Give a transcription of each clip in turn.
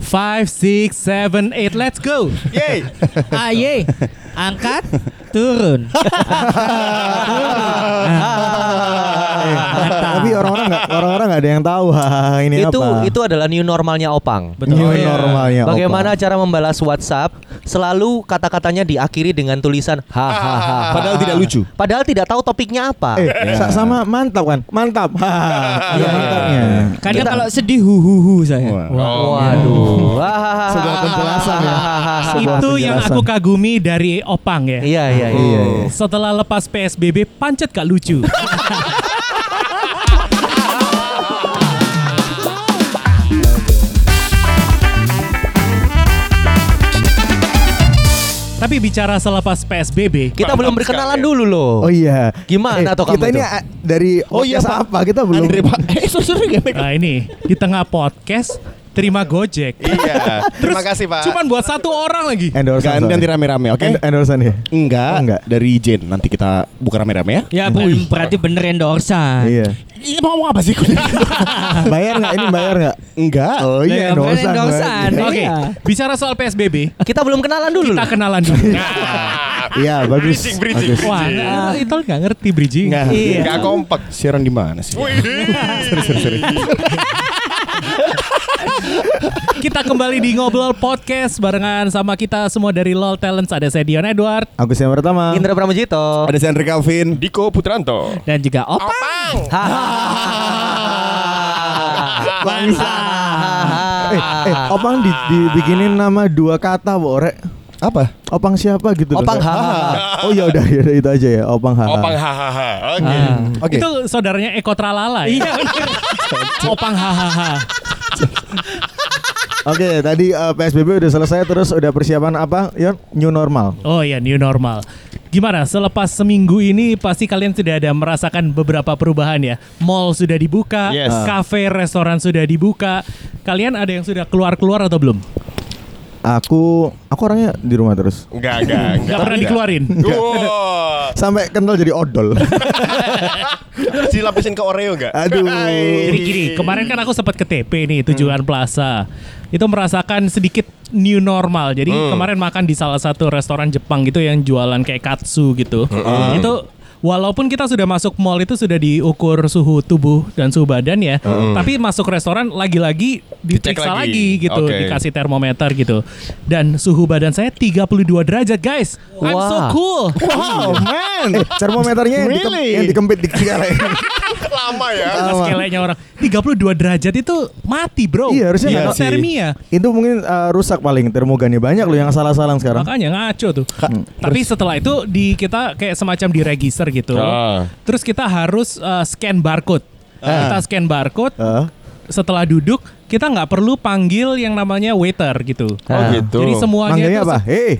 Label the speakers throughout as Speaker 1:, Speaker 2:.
Speaker 1: Five, six, seven, eight. Let's go. Ah,
Speaker 2: Yeay.
Speaker 3: Aye, angkat, turun. Mantap.
Speaker 4: Ah. Tapi orang-orang nggak orang-orang nggak ada yang tahu hahaha, ini
Speaker 5: itu
Speaker 4: apa. Ya,
Speaker 5: itu adalah new normalnya opang.
Speaker 1: Betul.
Speaker 4: New
Speaker 1: Oh, iya.
Speaker 4: normalnya.
Speaker 5: Bagaimana cara membalas WhatsApp? Selalu kata-katanya diakhiri dengan tulisan hahaha.
Speaker 2: Padahal tidak lucu.
Speaker 5: Padahal tidak tahu topiknya apa.
Speaker 4: Eh, sa- sama mantap kan? Mantap. Hahaha. Ada
Speaker 5: Iya, iya.
Speaker 4: mantapnya.
Speaker 1: Kadang
Speaker 5: Kita-
Speaker 1: kalau sedih hu hu hu saya.
Speaker 5: Oh, Waduh.
Speaker 4: Oh. Sebuah penjelasan ya. Sebuah
Speaker 1: Itu yang
Speaker 4: penjelasan.
Speaker 1: aku kagumi dari Opang ya.
Speaker 5: Iya iya iya.
Speaker 4: Iya, iya.
Speaker 1: Setelah lepas PSBB pancet gak lucu. Tapi bicara selepas PSBB,
Speaker 5: Kita belum berkenalan dulu loh.
Speaker 4: Oh iya. Eh,
Speaker 5: Gimana tuh kamu
Speaker 4: Kita ini
Speaker 5: tuh?
Speaker 4: a- dari
Speaker 2: Oh iya,
Speaker 4: podcast
Speaker 2: Pak.
Speaker 4: apa? Kita belum
Speaker 2: Andre Pak. Eh, so sorry ya,
Speaker 6: Ah,
Speaker 2: Mek.
Speaker 6: iya.
Speaker 1: nah ini di tengah podcast terima Gojek.
Speaker 2: Iya.
Speaker 1: Terus
Speaker 2: Terima kasih, Pak.
Speaker 1: Cuman buat satu orang lagi.
Speaker 4: endorsean.
Speaker 2: Ganti
Speaker 4: soalnya.
Speaker 2: nanti rame-rame, oke?
Speaker 4: End- endorsean ya?
Speaker 2: Enggak,
Speaker 4: Oh, enggak.
Speaker 2: Dari Jen nanti kita buka rame-rame ya.
Speaker 3: Ya bu, berarti bener endorsan.
Speaker 4: Iya.
Speaker 2: Iya, mau ngomong apa sih?
Speaker 4: Bayar nggak ini bayar nggak?
Speaker 2: Enggak.
Speaker 4: Oh
Speaker 3: Lah,
Speaker 4: iya
Speaker 3: bener
Speaker 4: endorsean.
Speaker 3: endorsean.
Speaker 2: Nah,
Speaker 4: Pak.
Speaker 1: Oke,
Speaker 3: Iya.
Speaker 1: bicara soal PSBB,
Speaker 5: Kita belum kenalan dulu.
Speaker 1: kita
Speaker 5: loh.
Speaker 1: kenalan dulu.
Speaker 2: Nah,
Speaker 4: Iya, bagus.
Speaker 6: Bridging, bridging.
Speaker 4: Bagus.
Speaker 1: Wah,
Speaker 2: iya.
Speaker 1: nah, itu nggak ngerti bridging.
Speaker 2: Enggak.
Speaker 3: Iya.
Speaker 2: Enggak kompak. Siaran di mana sih?
Speaker 1: Kita kembali di ngobrol podcast barengan sama kita semua dari LOL Talents ada saya Dion Edward
Speaker 4: Agus yang pertama.
Speaker 5: Indra Pramujito.
Speaker 2: Ada si Andre Calvin.
Speaker 6: Diko Putranto.
Speaker 1: dan juga Opa.
Speaker 5: Hahaha.
Speaker 1: Bangsa.
Speaker 4: Eh, eh, opang di, dibikinin nama dua kata, Borek.
Speaker 2: Apa?
Speaker 4: Opang siapa gitu
Speaker 5: Opang
Speaker 4: dong.
Speaker 5: hahaha.
Speaker 4: Oh ya udah ya udah, itu aja ya, Opang
Speaker 2: Ah.
Speaker 4: hahaha.
Speaker 6: Opang hahaha. Oke.
Speaker 2: Oke.
Speaker 1: Nah, Itu saudaranya Eko Tralala ya. Iya. Opang hahaha.
Speaker 4: Oke, tadi eh, PSBB udah selesai terus udah persiapan apa? Yon, new normal.
Speaker 1: Oh ya new normal. Gimana selepas seminggu ini pasti kalian sudah ada merasakan beberapa perubahan ya. Mall sudah dibuka,
Speaker 2: Yes.
Speaker 1: kafe, restoran sudah dibuka. Kalian ada yang sudah keluar-keluar atau belum?
Speaker 4: Aku aku orangnya di rumah terus.
Speaker 6: Enggak, enggak, enggak.
Speaker 1: Gak pernah dikeluarin.
Speaker 6: Wow.
Speaker 4: Sampai kental jadi odol.
Speaker 6: Terus dilapisin Oh, ke Oreo enggak?
Speaker 4: Aduh.
Speaker 1: Jadi gini, kemarin kan aku sempat ke TP nih tujuan plaza. Itu merasakan sedikit new normal. Jadi kemarin makan di salah satu restoran Jepang gitu yang jualan kayak katsu gitu. Itu walaupun kita sudah masuk mall itu sudah diukur suhu tubuh dan suhu badan ya. Tapi masuk restoran lagi-lagi
Speaker 6: Dicek
Speaker 1: diperiksa lagi.
Speaker 6: lagi.
Speaker 1: gitu,
Speaker 6: Oke.
Speaker 1: dikasih termometer gitu. Dan suhu badan saya 32 derajat, guys. I'm so
Speaker 5: Wah.
Speaker 1: cool.
Speaker 2: Wow, man.
Speaker 4: eh, termometernya yang, dikem-
Speaker 2: Really?
Speaker 4: yang dikempit di kepala. ya.
Speaker 6: Lama ya.
Speaker 1: Atas kelenya orang 32 derajat itu mati bro
Speaker 4: Iya, harusnya nggak sih.
Speaker 1: Hipotermia
Speaker 4: itu mungkin eh, rusak paling termogannya banyak loh yang salah-salah sekarang.
Speaker 1: Makanya ngaco tuh. Hmm. Tapi setelah itu di kita kayak semacam di register gitu.
Speaker 6: Ah.
Speaker 1: Terus kita harus uh, scan barcode. Kita scan barcode.
Speaker 4: Heeh.
Speaker 1: Setelah duduk kita nggak perlu panggil yang namanya waiter gitu.
Speaker 6: Oh
Speaker 5: Ah.
Speaker 6: gitu.
Speaker 1: Jadi semuanya
Speaker 4: Manggilnya
Speaker 1: itu
Speaker 4: apa? Hei.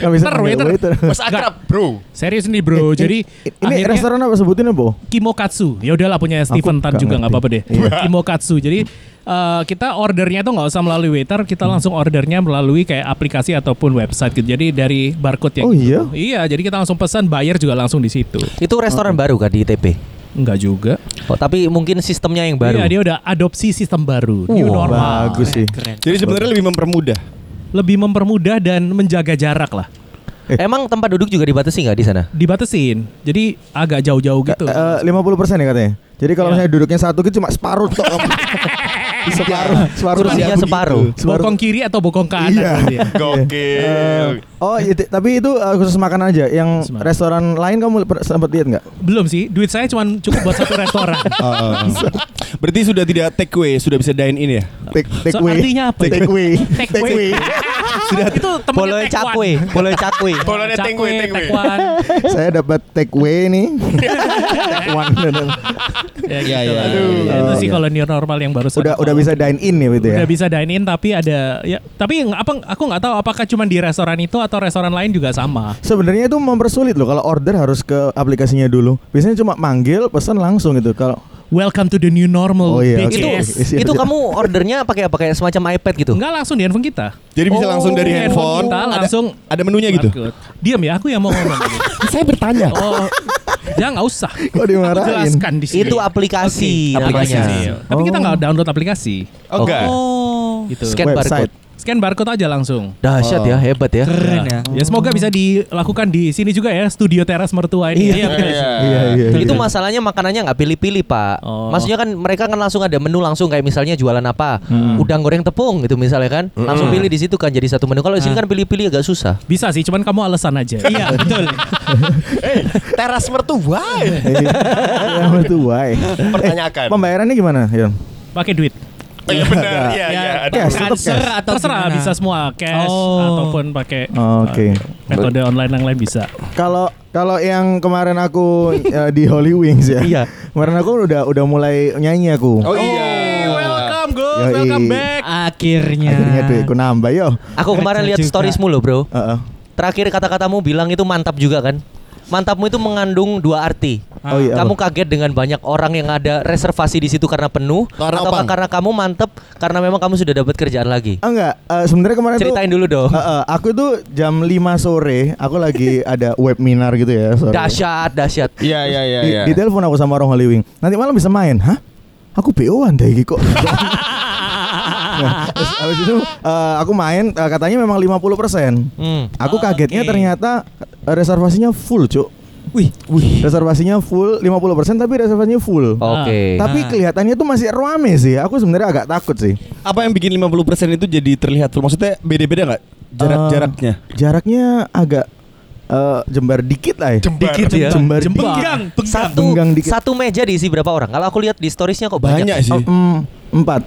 Speaker 4: Gak bisa
Speaker 1: Waiter,
Speaker 4: manggil
Speaker 1: waiter.
Speaker 6: Mas akrab, Bro.
Speaker 1: serius nih bro. Jadi
Speaker 4: Ini
Speaker 1: akhirnya
Speaker 4: restoran apa sebutin ya, apa?
Speaker 1: Kimokatsu. Ya udahlah punya Steven Tan
Speaker 4: nggak
Speaker 1: juga nggak
Speaker 4: ngerti. Iya.
Speaker 1: apa-apa deh. Kimokatsu. Jadi eh, kita ordernya tuh nggak usah melalui waiter, kita langsung ordernya melalui kayak aplikasi ataupun website gitu. Jadi dari barcode yang
Speaker 4: Oh, iya?
Speaker 1: Iya, jadi kita langsung pesan, bayar juga langsung di situ.
Speaker 5: Itu restoran baru kan di ITB?
Speaker 1: Enggak juga.
Speaker 5: Oh, tapi mungkin sistemnya yang baru.
Speaker 1: Iya, dia udah adopsi sistem baru, new
Speaker 5: Wah,
Speaker 1: normal.
Speaker 4: Bagus sih.
Speaker 2: Jadi sebenarnya lebih mempermudah.
Speaker 1: Lebih mempermudah dan menjaga jarak lah.
Speaker 5: Emang tempat duduk juga dibatasi nggak di sana?
Speaker 1: Dibatesin. Jadi agak jauh-jauh gitu.
Speaker 4: Lima puluh persen ya katanya. Jadi kalau
Speaker 1: Iya.
Speaker 4: misalnya duduknya satu gitu cuma separuh tok. separuh,
Speaker 1: Iya.
Speaker 4: separuh.
Speaker 5: Kursinya
Speaker 4: Begitu.
Speaker 5: separuh.
Speaker 4: Separuh.
Speaker 1: bokong kiri atau bokong kanan
Speaker 4: Iya.
Speaker 1: gitu ya.
Speaker 4: Eh,
Speaker 6: Gokil.
Speaker 4: oh, itu- tapi itu eh, khusus makan aja. Yang
Speaker 1: Khusus makan.
Speaker 4: restoran lain kamu per- sempat lihat nggak?
Speaker 1: Belum sih, duit saya cuma cukup buat satu restoran.
Speaker 2: Berarti sudah tidak take away, sudah bisa dine in ya?
Speaker 4: Take, take
Speaker 1: So,
Speaker 4: away.
Speaker 1: artinya apa?
Speaker 4: Take away.
Speaker 1: Take away. Sudah itu temennya
Speaker 5: Boleh
Speaker 1: Tekwan.
Speaker 5: cakwe, boleh cakwe.
Speaker 6: Boleh tengwe,
Speaker 1: Cakwe,
Speaker 6: tengwe.
Speaker 1: Tekwan.
Speaker 4: Saya dapat take away nih. take one.
Speaker 1: Ya
Speaker 2: Iya,
Speaker 1: gitu.
Speaker 2: iya,
Speaker 1: Aduh,
Speaker 2: iya,
Speaker 1: itu
Speaker 4: iya.
Speaker 1: sih kalau new normal yang baru
Speaker 4: Udah udah bisa dine in ya gitu ya.
Speaker 1: Udah bisa dine in tapi ada ya tapi yang apa aku nggak tahu apakah cuma di restoran itu atau restoran lain juga sama.
Speaker 4: Sebenarnya itu mempersulit loh kalau order harus ke aplikasinya dulu. Biasanya cuma manggil, pesan langsung gitu. Kalau
Speaker 1: Welcome to the new normal.
Speaker 4: Oh iya,
Speaker 5: Itu
Speaker 4: Yes.
Speaker 1: bitches.
Speaker 4: oke.
Speaker 5: itu kamu ordernya pakai apa kayak semacam iPad gitu?
Speaker 1: Enggak langsung di handphone kita.
Speaker 2: Jadi bisa langsung dari
Speaker 1: Oh, iya,
Speaker 2: handphone.
Speaker 1: kita
Speaker 2: ada-
Speaker 1: langsung
Speaker 2: ada, menunya gitu.
Speaker 1: Barcode. Diam ya, aku yang mau ngomong.
Speaker 2: Saya bertanya.
Speaker 1: oh, ya nggak usah.
Speaker 4: Kok
Speaker 1: Aku
Speaker 4: dimarahin?
Speaker 1: jelaskan di sini.
Speaker 5: Itu aplikasi
Speaker 1: Oke,
Speaker 5: namanya.
Speaker 1: aplikasi. Tapi kita nggak download aplikasi.
Speaker 2: Oh, enggak.
Speaker 1: Oh. gitu.
Speaker 5: Scan
Speaker 4: Website.
Speaker 5: barcode.
Speaker 1: Scan barcode aja langsung.
Speaker 5: Dahsyat ya, hebat ya.
Speaker 3: Keren ya.
Speaker 1: Ya semoga bisa dilakukan di sini juga ya studio teras mertua ini. Iya, betul.
Speaker 4: Iya iya. iya.
Speaker 5: Itu masalahnya makanannya nggak pilih-pilih pak.
Speaker 1: Oh.
Speaker 5: Maksudnya kan mereka kan langsung ada menu langsung kayak misalnya jualan apa,
Speaker 1: Hmm.
Speaker 5: udang goreng tepung gitu misalnya kan, langsung pilih di situ kan jadi satu menu. Kalau di sini
Speaker 1: Ah.
Speaker 5: kan pilih-pilih agak susah.
Speaker 1: Bisa sih, cuman kamu alasan aja.
Speaker 3: Iya betul.
Speaker 6: Eh, teras mertua. eh.
Speaker 4: Iya, itu why. Eh,
Speaker 6: Pertanyakan.
Speaker 4: Pembayarannya gimana, Yon?
Speaker 1: Pakai duit.
Speaker 6: Oh iya benar. Iya,
Speaker 3: Ya,
Speaker 6: iya. ada.
Speaker 4: cash.
Speaker 3: Transfer
Speaker 4: Tetap
Speaker 3: atau
Speaker 1: Terserah
Speaker 3: gimana?
Speaker 1: bisa semua cash
Speaker 3: Oh.
Speaker 1: ataupun pakai uh,
Speaker 4: Oke.
Speaker 1: metode online yang lain bisa.
Speaker 4: Kalau kalau yang kemarin aku eh, di Holy Wings ya.
Speaker 5: Iya.
Speaker 4: Kemarin aku udah udah mulai nyanyi aku.
Speaker 6: Oh iya.
Speaker 1: Welcome go,
Speaker 4: Yoi.
Speaker 1: welcome back.
Speaker 3: Akhirnya.
Speaker 4: Akhirnya duitku nambah yo.
Speaker 5: Aku kemarin
Speaker 3: Kerja
Speaker 5: lihat
Speaker 3: juga.
Speaker 5: storiesmu loh bro.
Speaker 4: Heeh.
Speaker 5: Terakhir kata-katamu bilang itu mantap juga kan. Mantapmu itu mengandung dua arti.
Speaker 4: Oh iya.
Speaker 5: Kamu kaget dengan banyak orang yang ada reservasi di situ karena penuh
Speaker 6: Karena
Speaker 5: atau
Speaker 6: opang.
Speaker 5: karena kamu mantep karena memang kamu sudah dapat kerjaan lagi.
Speaker 4: Ah, enggak, eh, sebenarnya kemarin tuh-
Speaker 5: Ceritain dulu dong.
Speaker 4: Eh, eh, aku tuh jam 5 sore, aku lagi ada webinar gitu ya. Sore.
Speaker 5: Dahsyat, dahsyat.
Speaker 6: Iya, iya, iya,
Speaker 4: Di,
Speaker 6: iya.
Speaker 4: di telepon aku sama orang Holy Wing. Nanti malam bisa main, hah? Aku PO an deh kok. Nah, terus abis itu eh, aku main eh, katanya memang 50%.
Speaker 5: Hmm.
Speaker 4: Aku kagetnya
Speaker 3: Oke.
Speaker 4: ternyata eh, reservasinya full, Cuk.
Speaker 3: Wih,
Speaker 4: Reservasinya full 50% tapi reservasinya full.
Speaker 5: Oke.
Speaker 4: Tapi kelihatannya tuh masih rame sih. Aku sebenarnya agak takut sih.
Speaker 2: Apa yang bikin 50% itu jadi terlihat full? Maksudnya beda-beda nggak jarak-jaraknya?
Speaker 4: Eh, jaraknya agak eh, jembar dikit lah. ya.
Speaker 6: Jembar.
Speaker 4: Dikit ya. Jembar. dikit.
Speaker 1: Penggang, penggang.
Speaker 5: satu
Speaker 4: Penggang dikit.
Speaker 5: satu meja diisi berapa orang? Kalau aku lihat di storiesnya kok
Speaker 2: Banyak
Speaker 5: banyak.
Speaker 2: sih.
Speaker 4: Oh, mm, empat.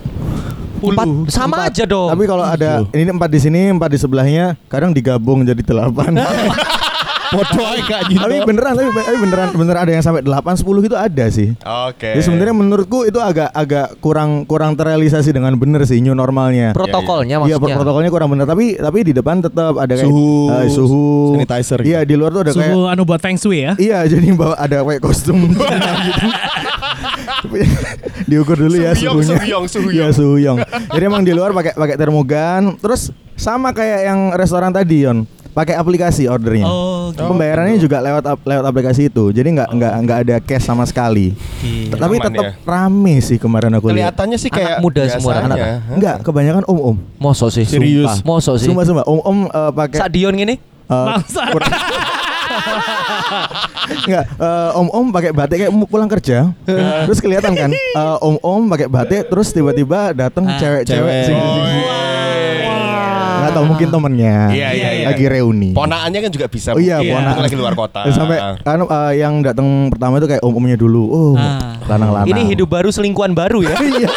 Speaker 5: Empat sama
Speaker 4: Empat.
Speaker 5: aja dong.
Speaker 4: Tapi kalau ada ini empat di sini, empat di sebelahnya, kadang digabung jadi delapan.
Speaker 5: Gitu.
Speaker 2: Bodoh aja Kak gitu. Gino.
Speaker 4: tapi beneran, tapi, tapi beneran, beneran ada yang sampai delapan, sepuluh gitu ada sih.
Speaker 6: Oke.
Speaker 5: Eh.
Speaker 4: Ya sebenarnya menurutku itu agak agak kurang kurang terrealisasi dengan bener sih new normalnya.
Speaker 5: protokolnya
Speaker 4: Iya
Speaker 5: ya, maksudnya.
Speaker 4: protokolnya kurang bener tapi tapi di depan tetap ada kayak
Speaker 2: Suhu,
Speaker 4: eh, suhu
Speaker 2: sanitizer gitu.
Speaker 4: Iya di luar tuh ada kayak
Speaker 1: Suhu anu buat feng shui ya.
Speaker 4: Iya, jadi bawa ada kayak kostum gitu. Diukur dulu ya
Speaker 6: Suhuyong,
Speaker 4: suhunya.
Speaker 6: suhuyong, suhuyong.
Speaker 4: Iya, suhuyong. Jadi emang di luar pakai pakai termogan, terus sama kayak yang restoran tadi, Yon. Pakai aplikasi ordernya.
Speaker 3: Oh, gitu.
Speaker 4: Pembayarannya juga lewat ap- lewat aplikasi itu. Jadi nggak nggak nggak ada cash sama sekali. Tapi
Speaker 6: Aman
Speaker 4: tetap
Speaker 6: Oh. ya.
Speaker 4: rame sih kemarin aku lihat.
Speaker 6: Kelihatannya sih
Speaker 5: Anak
Speaker 6: kayak
Speaker 5: muda semua
Speaker 6: biasanya.
Speaker 5: anak-anak.
Speaker 4: Enggak, kebanyakan om-om.
Speaker 5: Mosok sih.
Speaker 2: Serius?
Speaker 5: Sumpah.
Speaker 3: Oh,
Speaker 5: Mosok sih.
Speaker 4: Sumpah sumpah, om-om eh, pakai
Speaker 5: Sadion gini.
Speaker 4: eh,
Speaker 1: Bangsa.
Speaker 4: Enggak, eh, om-om pakai batik kayak mau pulang kerja. terus kelihatan kan eh, om-om pakai batik terus tiba-tiba datang cewek-cewek
Speaker 2: cewek.
Speaker 4: sing
Speaker 6: Oh,
Speaker 4: sing-
Speaker 6: Ah, iya.
Speaker 4: Nggak tahu mungkin temennya
Speaker 6: Iya, iya, iya.
Speaker 4: lagi reuni.
Speaker 6: Ponaannya kan juga bisa.
Speaker 4: Oh iya,
Speaker 6: mungkin.
Speaker 4: ponaan.
Speaker 6: Bukan lagi luar kota. Ah.
Speaker 4: Sampai kan eh, yang datang pertama itu kayak om-omnya dulu. Oh,
Speaker 3: Ah.
Speaker 4: lanang-lanang.
Speaker 5: Ini hidup baru selingkuhan baru ya.
Speaker 4: Iya.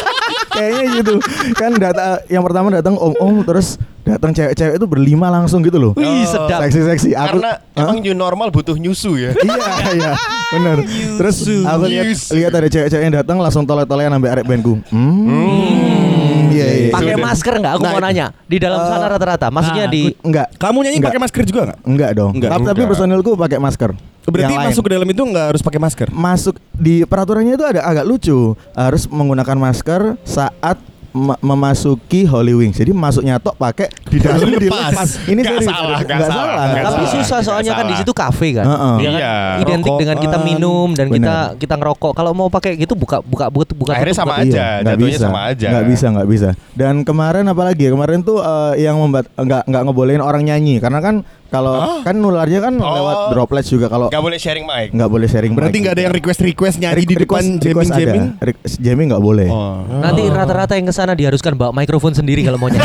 Speaker 4: Kayaknya gitu. Kan data yang pertama datang om-om terus datang cewek-cewek itu berlima langsung gitu loh.
Speaker 5: Wih, sedap.
Speaker 4: Seksi-seksi. Aku
Speaker 6: Karena
Speaker 4: Hah?
Speaker 6: emang new normal butuh nyusu ya.
Speaker 4: iya iya benar terus aku lihat
Speaker 6: Yusu.
Speaker 4: lihat ada cewek-cewek yang datang langsung tolak-tolakan sampai arek bandku hmm iya iya
Speaker 5: Pakai
Speaker 6: Sudah.
Speaker 5: masker nggak? Aku
Speaker 2: Nah,
Speaker 5: mau
Speaker 2: itu-
Speaker 5: nanya. Di dalam
Speaker 4: Ah.
Speaker 5: sana rata-rata. Maksudnya
Speaker 1: Nah,
Speaker 5: di
Speaker 4: enggak
Speaker 2: Kamu nyanyi
Speaker 4: Enggak.
Speaker 2: pakai masker juga nggak?
Speaker 4: enggak dong
Speaker 2: Enggak.
Speaker 4: tapi, tapi
Speaker 6: Enggak.
Speaker 4: personilku pakai masker
Speaker 2: Berarti
Speaker 4: Yang lain.
Speaker 2: masuk ke dalam itu nggak harus pakai
Speaker 6: Oh
Speaker 2: masker?
Speaker 4: masuk di peraturannya itu ada agak lucu harus menggunakan masker saat me- memasuki Holy Wings. Jadi masuknya tok pakai di dalam dilepas. Ini
Speaker 6: Nggak
Speaker 4: serius.
Speaker 6: salah, nggak
Speaker 4: Nggak
Speaker 6: salah, nggak
Speaker 4: nggak
Speaker 5: tapi
Speaker 6: salah.
Speaker 5: susah soalnya kan di
Speaker 6: salah.
Speaker 5: situ kafe kan.
Speaker 4: Heeh.
Speaker 5: Iya kan?
Speaker 6: Iya,
Speaker 5: Identik
Speaker 2: rokokan.
Speaker 5: dengan kita minum dan kita kita ngerokok. Kalau mau pakai gitu buka buka buka buka.
Speaker 6: Akhirnya
Speaker 5: tutup, buka-
Speaker 6: sama aja,
Speaker 4: nggak
Speaker 6: jatuhnya sama aja.
Speaker 4: Nggak bisa, nggak bisa. Dan kemarin apalagi ya? Kemarin tuh eh, yang membuat nggak nggak ngebolehin orang nyanyi karena kan kalau kan nularnya kan
Speaker 6: Oh.
Speaker 4: lewat droplet juga kalau
Speaker 6: Gak boleh sharing mic.
Speaker 4: nggak boleh sharing.
Speaker 2: Berarti
Speaker 4: mic
Speaker 2: nggak ada
Speaker 4: juga.
Speaker 2: yang request-request nyanyi
Speaker 4: Re-
Speaker 2: di depan
Speaker 4: request- request ada.
Speaker 2: jamming-jamming?
Speaker 4: Re- Jamming nggak boleh.
Speaker 2: Oh.
Speaker 5: Nanti rata-rata yang kesana diharuskan bawa mikrofon sendiri kalau mau nyanyi.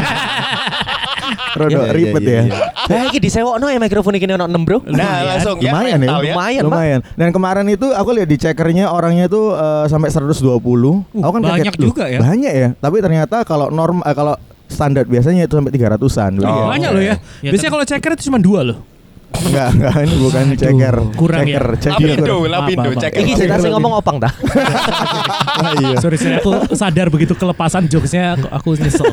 Speaker 4: Rodo
Speaker 2: Iya, iya,
Speaker 4: ribet
Speaker 2: iya, iya.
Speaker 4: ya.
Speaker 5: Nah, iki disewokno ya mikrofon iki ono 6, Bro.
Speaker 6: Nah, langsung ya,
Speaker 4: Lumayan ya.
Speaker 6: mental
Speaker 5: Lumayan, Pak.
Speaker 4: Lumayan. Dan kemarin itu aku lihat di checkernya orangnya itu eh, sampai 120. aku kan kaget,
Speaker 1: Uh, banyak
Speaker 4: "Loh,
Speaker 1: juga ya."
Speaker 4: Banyak ya. Tapi ternyata kalau norm eh, kalau standar biasanya itu sampai 300-an. Jadi ya,
Speaker 1: Banyak loh ya.
Speaker 3: Ya,
Speaker 1: Biasanya kalau checker itu cuma dua loh.
Speaker 4: Enggak, enggak ini bukan ceker.
Speaker 1: kurang
Speaker 4: ceker,
Speaker 1: ya.
Speaker 4: ceker. Oh,
Speaker 1: Maaf,
Speaker 6: Lapindo, lapindo,
Speaker 1: maaf, maaf.
Speaker 2: Iya,
Speaker 6: cek.
Speaker 5: Iki cerita sing ngomong opang dah.
Speaker 4: iya.
Speaker 3: Iya.
Speaker 1: Sorry, sorry aku sadar begitu kelepasan jokesnya aku, aku nyesel.
Speaker 3: Iya.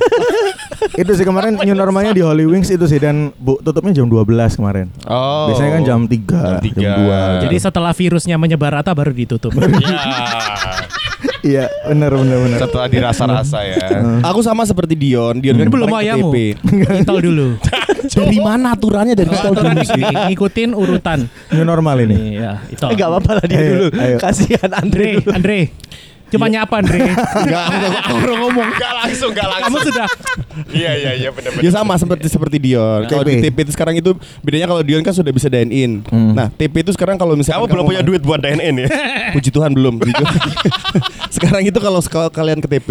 Speaker 4: itu sih kemarin new normalnya di Holy Wings itu sih dan bu, tutupnya jam 12 kemarin.
Speaker 6: Oh.
Speaker 4: Biasanya kan jam 3,
Speaker 6: Jam
Speaker 4: jam,
Speaker 6: tiga.
Speaker 4: 2.
Speaker 1: Jadi setelah virusnya menyebar rata baru ditutup.
Speaker 6: Iya.
Speaker 4: iya, benar benar benar.
Speaker 6: Setelah dirasa-rasa ya.
Speaker 2: Eh.
Speaker 6: Hmm.
Speaker 2: Aku sama seperti Dion. Dion kan
Speaker 1: Belum
Speaker 2: kemarin
Speaker 1: ayamu.
Speaker 2: KTP.
Speaker 1: Intel dulu.
Speaker 2: Dari mana aturannya dari
Speaker 1: Kalau
Speaker 2: kita
Speaker 1: aturan
Speaker 2: dulu sih?
Speaker 1: di- ngikutin urutan.
Speaker 4: New normal ini.
Speaker 1: Iya, itu.
Speaker 4: Eh,
Speaker 5: Enggak apa-apa lah dia
Speaker 4: Ayo,
Speaker 5: dulu.
Speaker 4: ayo.
Speaker 5: Kasihan Andre.
Speaker 1: Andre,
Speaker 5: dulu.
Speaker 1: Andre. Cuma nyapa Andre.
Speaker 2: Enggak, enggak, enggak, enggak ngomong.
Speaker 6: Gak langsung, gak
Speaker 1: Kamu
Speaker 6: langsung.
Speaker 1: sudah
Speaker 6: Iya, iya, iya benar-benar.
Speaker 2: Ya sama seperti seperti Dion. Kalau di TP itu sekarang itu bedanya kalau Dion kan sudah bisa dine in.
Speaker 4: Hmm.
Speaker 2: Nah, TP itu sekarang kalau misalnya
Speaker 6: Kamu belum punya duit buat DNN ya?
Speaker 2: Puji Tuhan belum. Puji Tuhan. sekarang itu kalau sekal- kalian ke TP,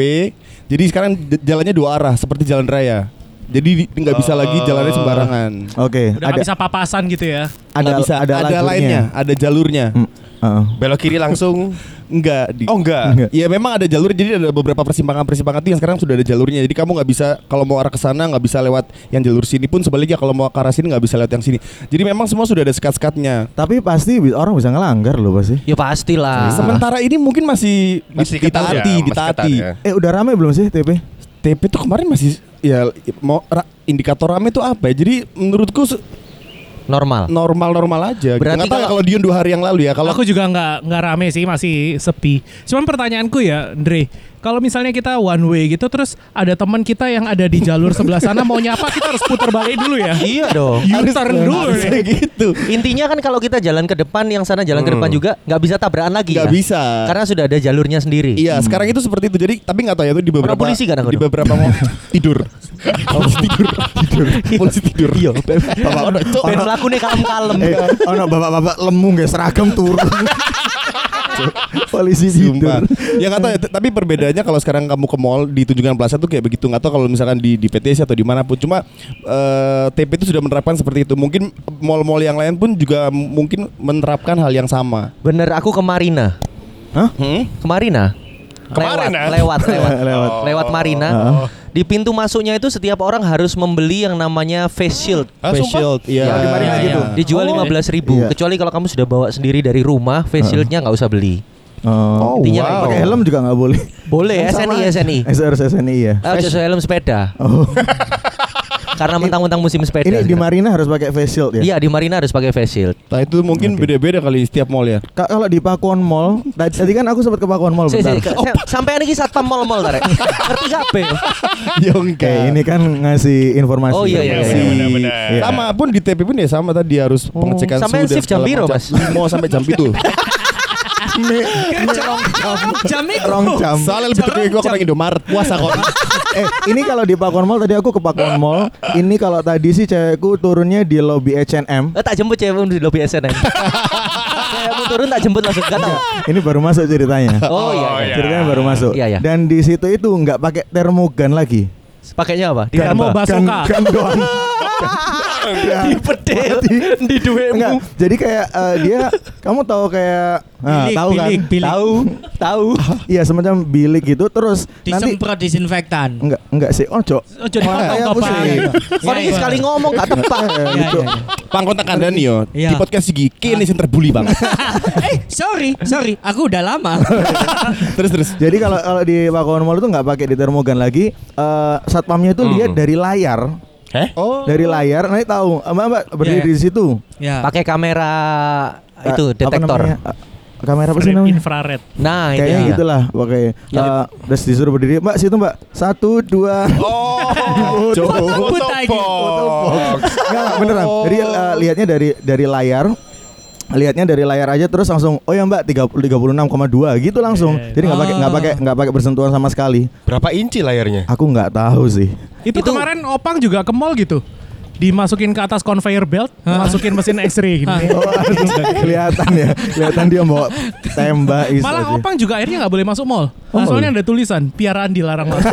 Speaker 2: jadi sekarang j- jalannya dua arah seperti jalan raya. Jadi di- nggak bisa lagi jalannya
Speaker 6: Oh.
Speaker 2: sembarangan.
Speaker 4: Oke,
Speaker 1: udah nggak
Speaker 4: ada
Speaker 1: bisa papasan gitu ya.
Speaker 4: ada
Speaker 2: Nggak bisa.
Speaker 4: ada
Speaker 2: ada
Speaker 4: lajurnya.
Speaker 2: lainnya, ada jalurnya.
Speaker 4: Hmm, heeh.
Speaker 6: Belok kiri langsung.
Speaker 2: Enggak di.
Speaker 6: Oh enggak.
Speaker 2: Ya memang ada jalur jadi ada beberapa persimpangan-persimpangan itu yang sekarang sudah ada jalurnya. Jadi kamu nggak bisa kalau mau arah ke sana nggak bisa lewat yang jalur sini pun sebaliknya kalau mau ke arah sini nggak bisa lewat yang sini. Jadi memang semua sudah ada sekat-sekatnya.
Speaker 4: Tapi pasti bi- orang bisa ngelanggar loh pasti.
Speaker 5: Ya pastilah.
Speaker 2: Sementara ini mungkin masih, di-
Speaker 6: Ah. Masih ketat ya,
Speaker 2: ditaati,
Speaker 6: masih
Speaker 2: ditaati.
Speaker 6: ketat ya.
Speaker 4: Eh udah rame belum sih TP?
Speaker 2: TP tuh kemarin masih ya mau ra- indikator rame tuh apa? ya? Jadi menurutku se-
Speaker 5: Normal.
Speaker 2: normal-normal aja. gitu.
Speaker 5: Berarti
Speaker 2: Nggak tahu ya
Speaker 5: kalau-
Speaker 2: kalau Dion dua hari yang lalu ya kalau
Speaker 1: aku juga nggak nggak rame sih masih sepi. Cuman pertanyaanku ya, Andre, kalau misalnya kita one way gitu terus ada teman kita yang ada di jalur sebelah sana mau nyapa kita harus putar balik dulu ya.
Speaker 5: Iya dong.
Speaker 1: U-turn dulu.
Speaker 2: Harusnya
Speaker 1: nih.
Speaker 2: gitu.
Speaker 5: Intinya kan kalau kita jalan ke depan yang sana jalan
Speaker 4: Hmm.
Speaker 5: ke depan juga nggak bisa tabrakan lagi.
Speaker 2: Nggak
Speaker 5: ya?
Speaker 2: bisa.
Speaker 5: Karena sudah ada jalurnya sendiri.
Speaker 2: Iya, sekarang itu seperti itu. Jadi tapi nggak tahu ya itu di beberapa
Speaker 5: polisi nggak nangkep
Speaker 2: di
Speaker 5: dong?
Speaker 2: beberapa mau tidur. Polisi tidur. Tidur. Polisi tidur. Iya. Bapak ono itu.
Speaker 5: Ben melaku nih kalem-kalem.
Speaker 4: Eh, oh no, bapak-bapak lemu nggak seragam turun. Polisi
Speaker 2: Sumpah.
Speaker 4: tidur.
Speaker 2: Ya nggak tahu ya, t- tapi perbedaannya kalau sekarang kamu ke mall di Tunjungan Plaza tuh kayak begitu nggak tahu kalau misalkan di di PTC atau dimanapun cuma eh, TP itu sudah menerapkan seperti itu mungkin mall-mall yang lain pun juga m- mungkin menerapkan hal yang sama.
Speaker 5: Bener aku ke Marina.
Speaker 4: Hah?
Speaker 6: Hmm?
Speaker 5: Ke Marina.
Speaker 6: Kemarin, ah?
Speaker 5: lewat, lewat, lewat,
Speaker 4: Lewat. Oh.
Speaker 5: lewat Marina. Di pintu masuknya itu setiap orang harus membeli yang namanya face shield.
Speaker 6: Ah,
Speaker 2: Face
Speaker 6: sumpah? Ya. Oh.
Speaker 2: shield, iya.
Speaker 4: di Marina
Speaker 2: Iya,
Speaker 4: gitu.
Speaker 2: iya.
Speaker 5: Dijual lima ribu.
Speaker 4: Iya.
Speaker 5: Kecuali kalau kamu sudah bawa sendiri dari rumah, face shieldnya nggak usah beli. Eh,
Speaker 4: Oh,
Speaker 5: Intinya
Speaker 4: wow.
Speaker 5: kayak
Speaker 4: Pakai
Speaker 5: gitu.
Speaker 4: helm juga nggak boleh.
Speaker 5: Boleh
Speaker 4: Sama.
Speaker 5: SNI SNI.
Speaker 4: Eh, harus SNI ya.
Speaker 5: Ah, Harus sesuai helm sepeda.
Speaker 4: Oh.
Speaker 5: Karena mentang-mentang musim sepeda.
Speaker 4: Ini di
Speaker 5: sekarang.
Speaker 4: Marina harus pakai face shield ya?
Speaker 5: Iya di Marina harus pakai face shield.
Speaker 2: Nah itu mungkin beda-beda kali setiap mall ya.
Speaker 4: Ka- Kalau di Pakuan Mall, tadi tadi kan aku sempat ke Pakuan Mall
Speaker 5: Si-
Speaker 4: bentar.
Speaker 5: si-
Speaker 4: Oh,
Speaker 5: si- Sampai ini satpam mall-mall tarik. Ngerti gak Be?
Speaker 2: ya
Speaker 4: kayak ini kan ngasih informasi.
Speaker 5: Iya. Oh, iya, iya,
Speaker 6: Iya,
Speaker 2: Si-
Speaker 4: Informasi.
Speaker 6: benar-benar.
Speaker 2: Iya. Sama pun di TP pun ya sama tadi harus pengecekan
Speaker 5: Sampai
Speaker 2: suhu dan
Speaker 5: shift jam
Speaker 2: segala
Speaker 5: biru,
Speaker 2: macam.
Speaker 5: Mas?
Speaker 2: Limo sampai jam itu.
Speaker 3: Jamik.
Speaker 4: Rong jam.
Speaker 2: Soalnya lebih terkejut gue kurang Indomaret puasa kok.
Speaker 4: eh ini kalau di Pakuan Mall tadi aku ke Pakuan Mall. Ini kalau tadi sih cewekku turunnya di lobby H&M.
Speaker 5: Eh, tak jemput cewek di lobi SNM. Cewekmu turun tak jemput langsung gak tau.
Speaker 4: Ini baru masuk ceritanya.
Speaker 5: Oh iya.
Speaker 6: Oh,
Speaker 5: iya.
Speaker 6: iya.
Speaker 4: Ceritanya baru masuk.
Speaker 5: Iya, iya.
Speaker 4: Dan di situ itu nggak pakai termogan lagi.
Speaker 5: Pakainya apa? Di
Speaker 1: Termo
Speaker 5: apa?
Speaker 1: basoka.
Speaker 4: Gan doang.
Speaker 5: Di pedel. Di
Speaker 4: Enggak.
Speaker 5: duitmu.
Speaker 4: Jadi kayak eh, dia kamu tahu kayak nah,
Speaker 1: Bilik,
Speaker 4: tahu kan?
Speaker 1: bilik, bilik.
Speaker 4: Tahu, tahu. Iya semacam bilik gitu terus nanti
Speaker 3: Disemprot disinfektan.
Speaker 4: enggak enggak sih ojo.
Speaker 1: Oh, jadi
Speaker 4: Wah,
Speaker 1: potong
Speaker 4: kayak
Speaker 1: Bapak.
Speaker 4: pusing.
Speaker 5: Kan ini sekali ngomong gak tepat.
Speaker 4: Eh,
Speaker 3: Iya,
Speaker 4: gitu.
Speaker 3: iya, iya.
Speaker 2: Pang kontak kandang nih yo.
Speaker 3: Iya.
Speaker 2: Di podcast Sigi kini sih terbuli bang.
Speaker 3: Eh, sorry, sorry. Aku udah lama.
Speaker 2: terus terus.
Speaker 4: Jadi kalau kalau di Pakuan Mall itu nggak pakai di termogan lagi. Eh, satpamnya itu lihat dari layar.
Speaker 2: Heh?
Speaker 4: Oh. Dari layar nanti tahu. Eh, Mbak, mbak berdiri
Speaker 3: Iya, iya.
Speaker 4: di situ.
Speaker 3: ya.
Speaker 5: Pakai kamera
Speaker 4: Eh,
Speaker 5: Ah, itu
Speaker 4: apa namanya?
Speaker 5: detektor.
Speaker 4: Eh, kamera apa sih
Speaker 1: Frame
Speaker 4: namanya?
Speaker 1: infrared.
Speaker 5: Nah, itu
Speaker 4: Kayaknya
Speaker 5: dia.
Speaker 4: gitulah pokoknya. Eh, terus disuruh berdiri, Mbak situ Mbak. Satu, dua.
Speaker 6: Oh,
Speaker 4: Jauh.
Speaker 6: foto
Speaker 3: Lagi.
Speaker 6: box.
Speaker 4: Enggak, enggak, beneran. Jadi eh, lihatnya dari dari layar lihatnya dari layar aja terus langsung oh ya Mbak 30 36,2 gitu langsung. Jadi nggak pakai nggak pakai nggak pakai bersentuhan sama sekali.
Speaker 6: Berapa inci layarnya?
Speaker 4: Aku nggak tahu sih.
Speaker 1: Itu,
Speaker 5: Itu-
Speaker 1: kemarin Opang juga ke mall gitu. Dimasukin ke atas conveyor belt, masukin mesin X-ray gini.
Speaker 4: Oh, aduh, kelihatan ya. Kelihatan dia bawa tembak is
Speaker 1: Malah
Speaker 4: aja.
Speaker 1: Opang juga akhirnya nggak boleh masuk mall.
Speaker 4: Oh.
Speaker 1: Soalnya ada tulisan piaraan dilarang masuk.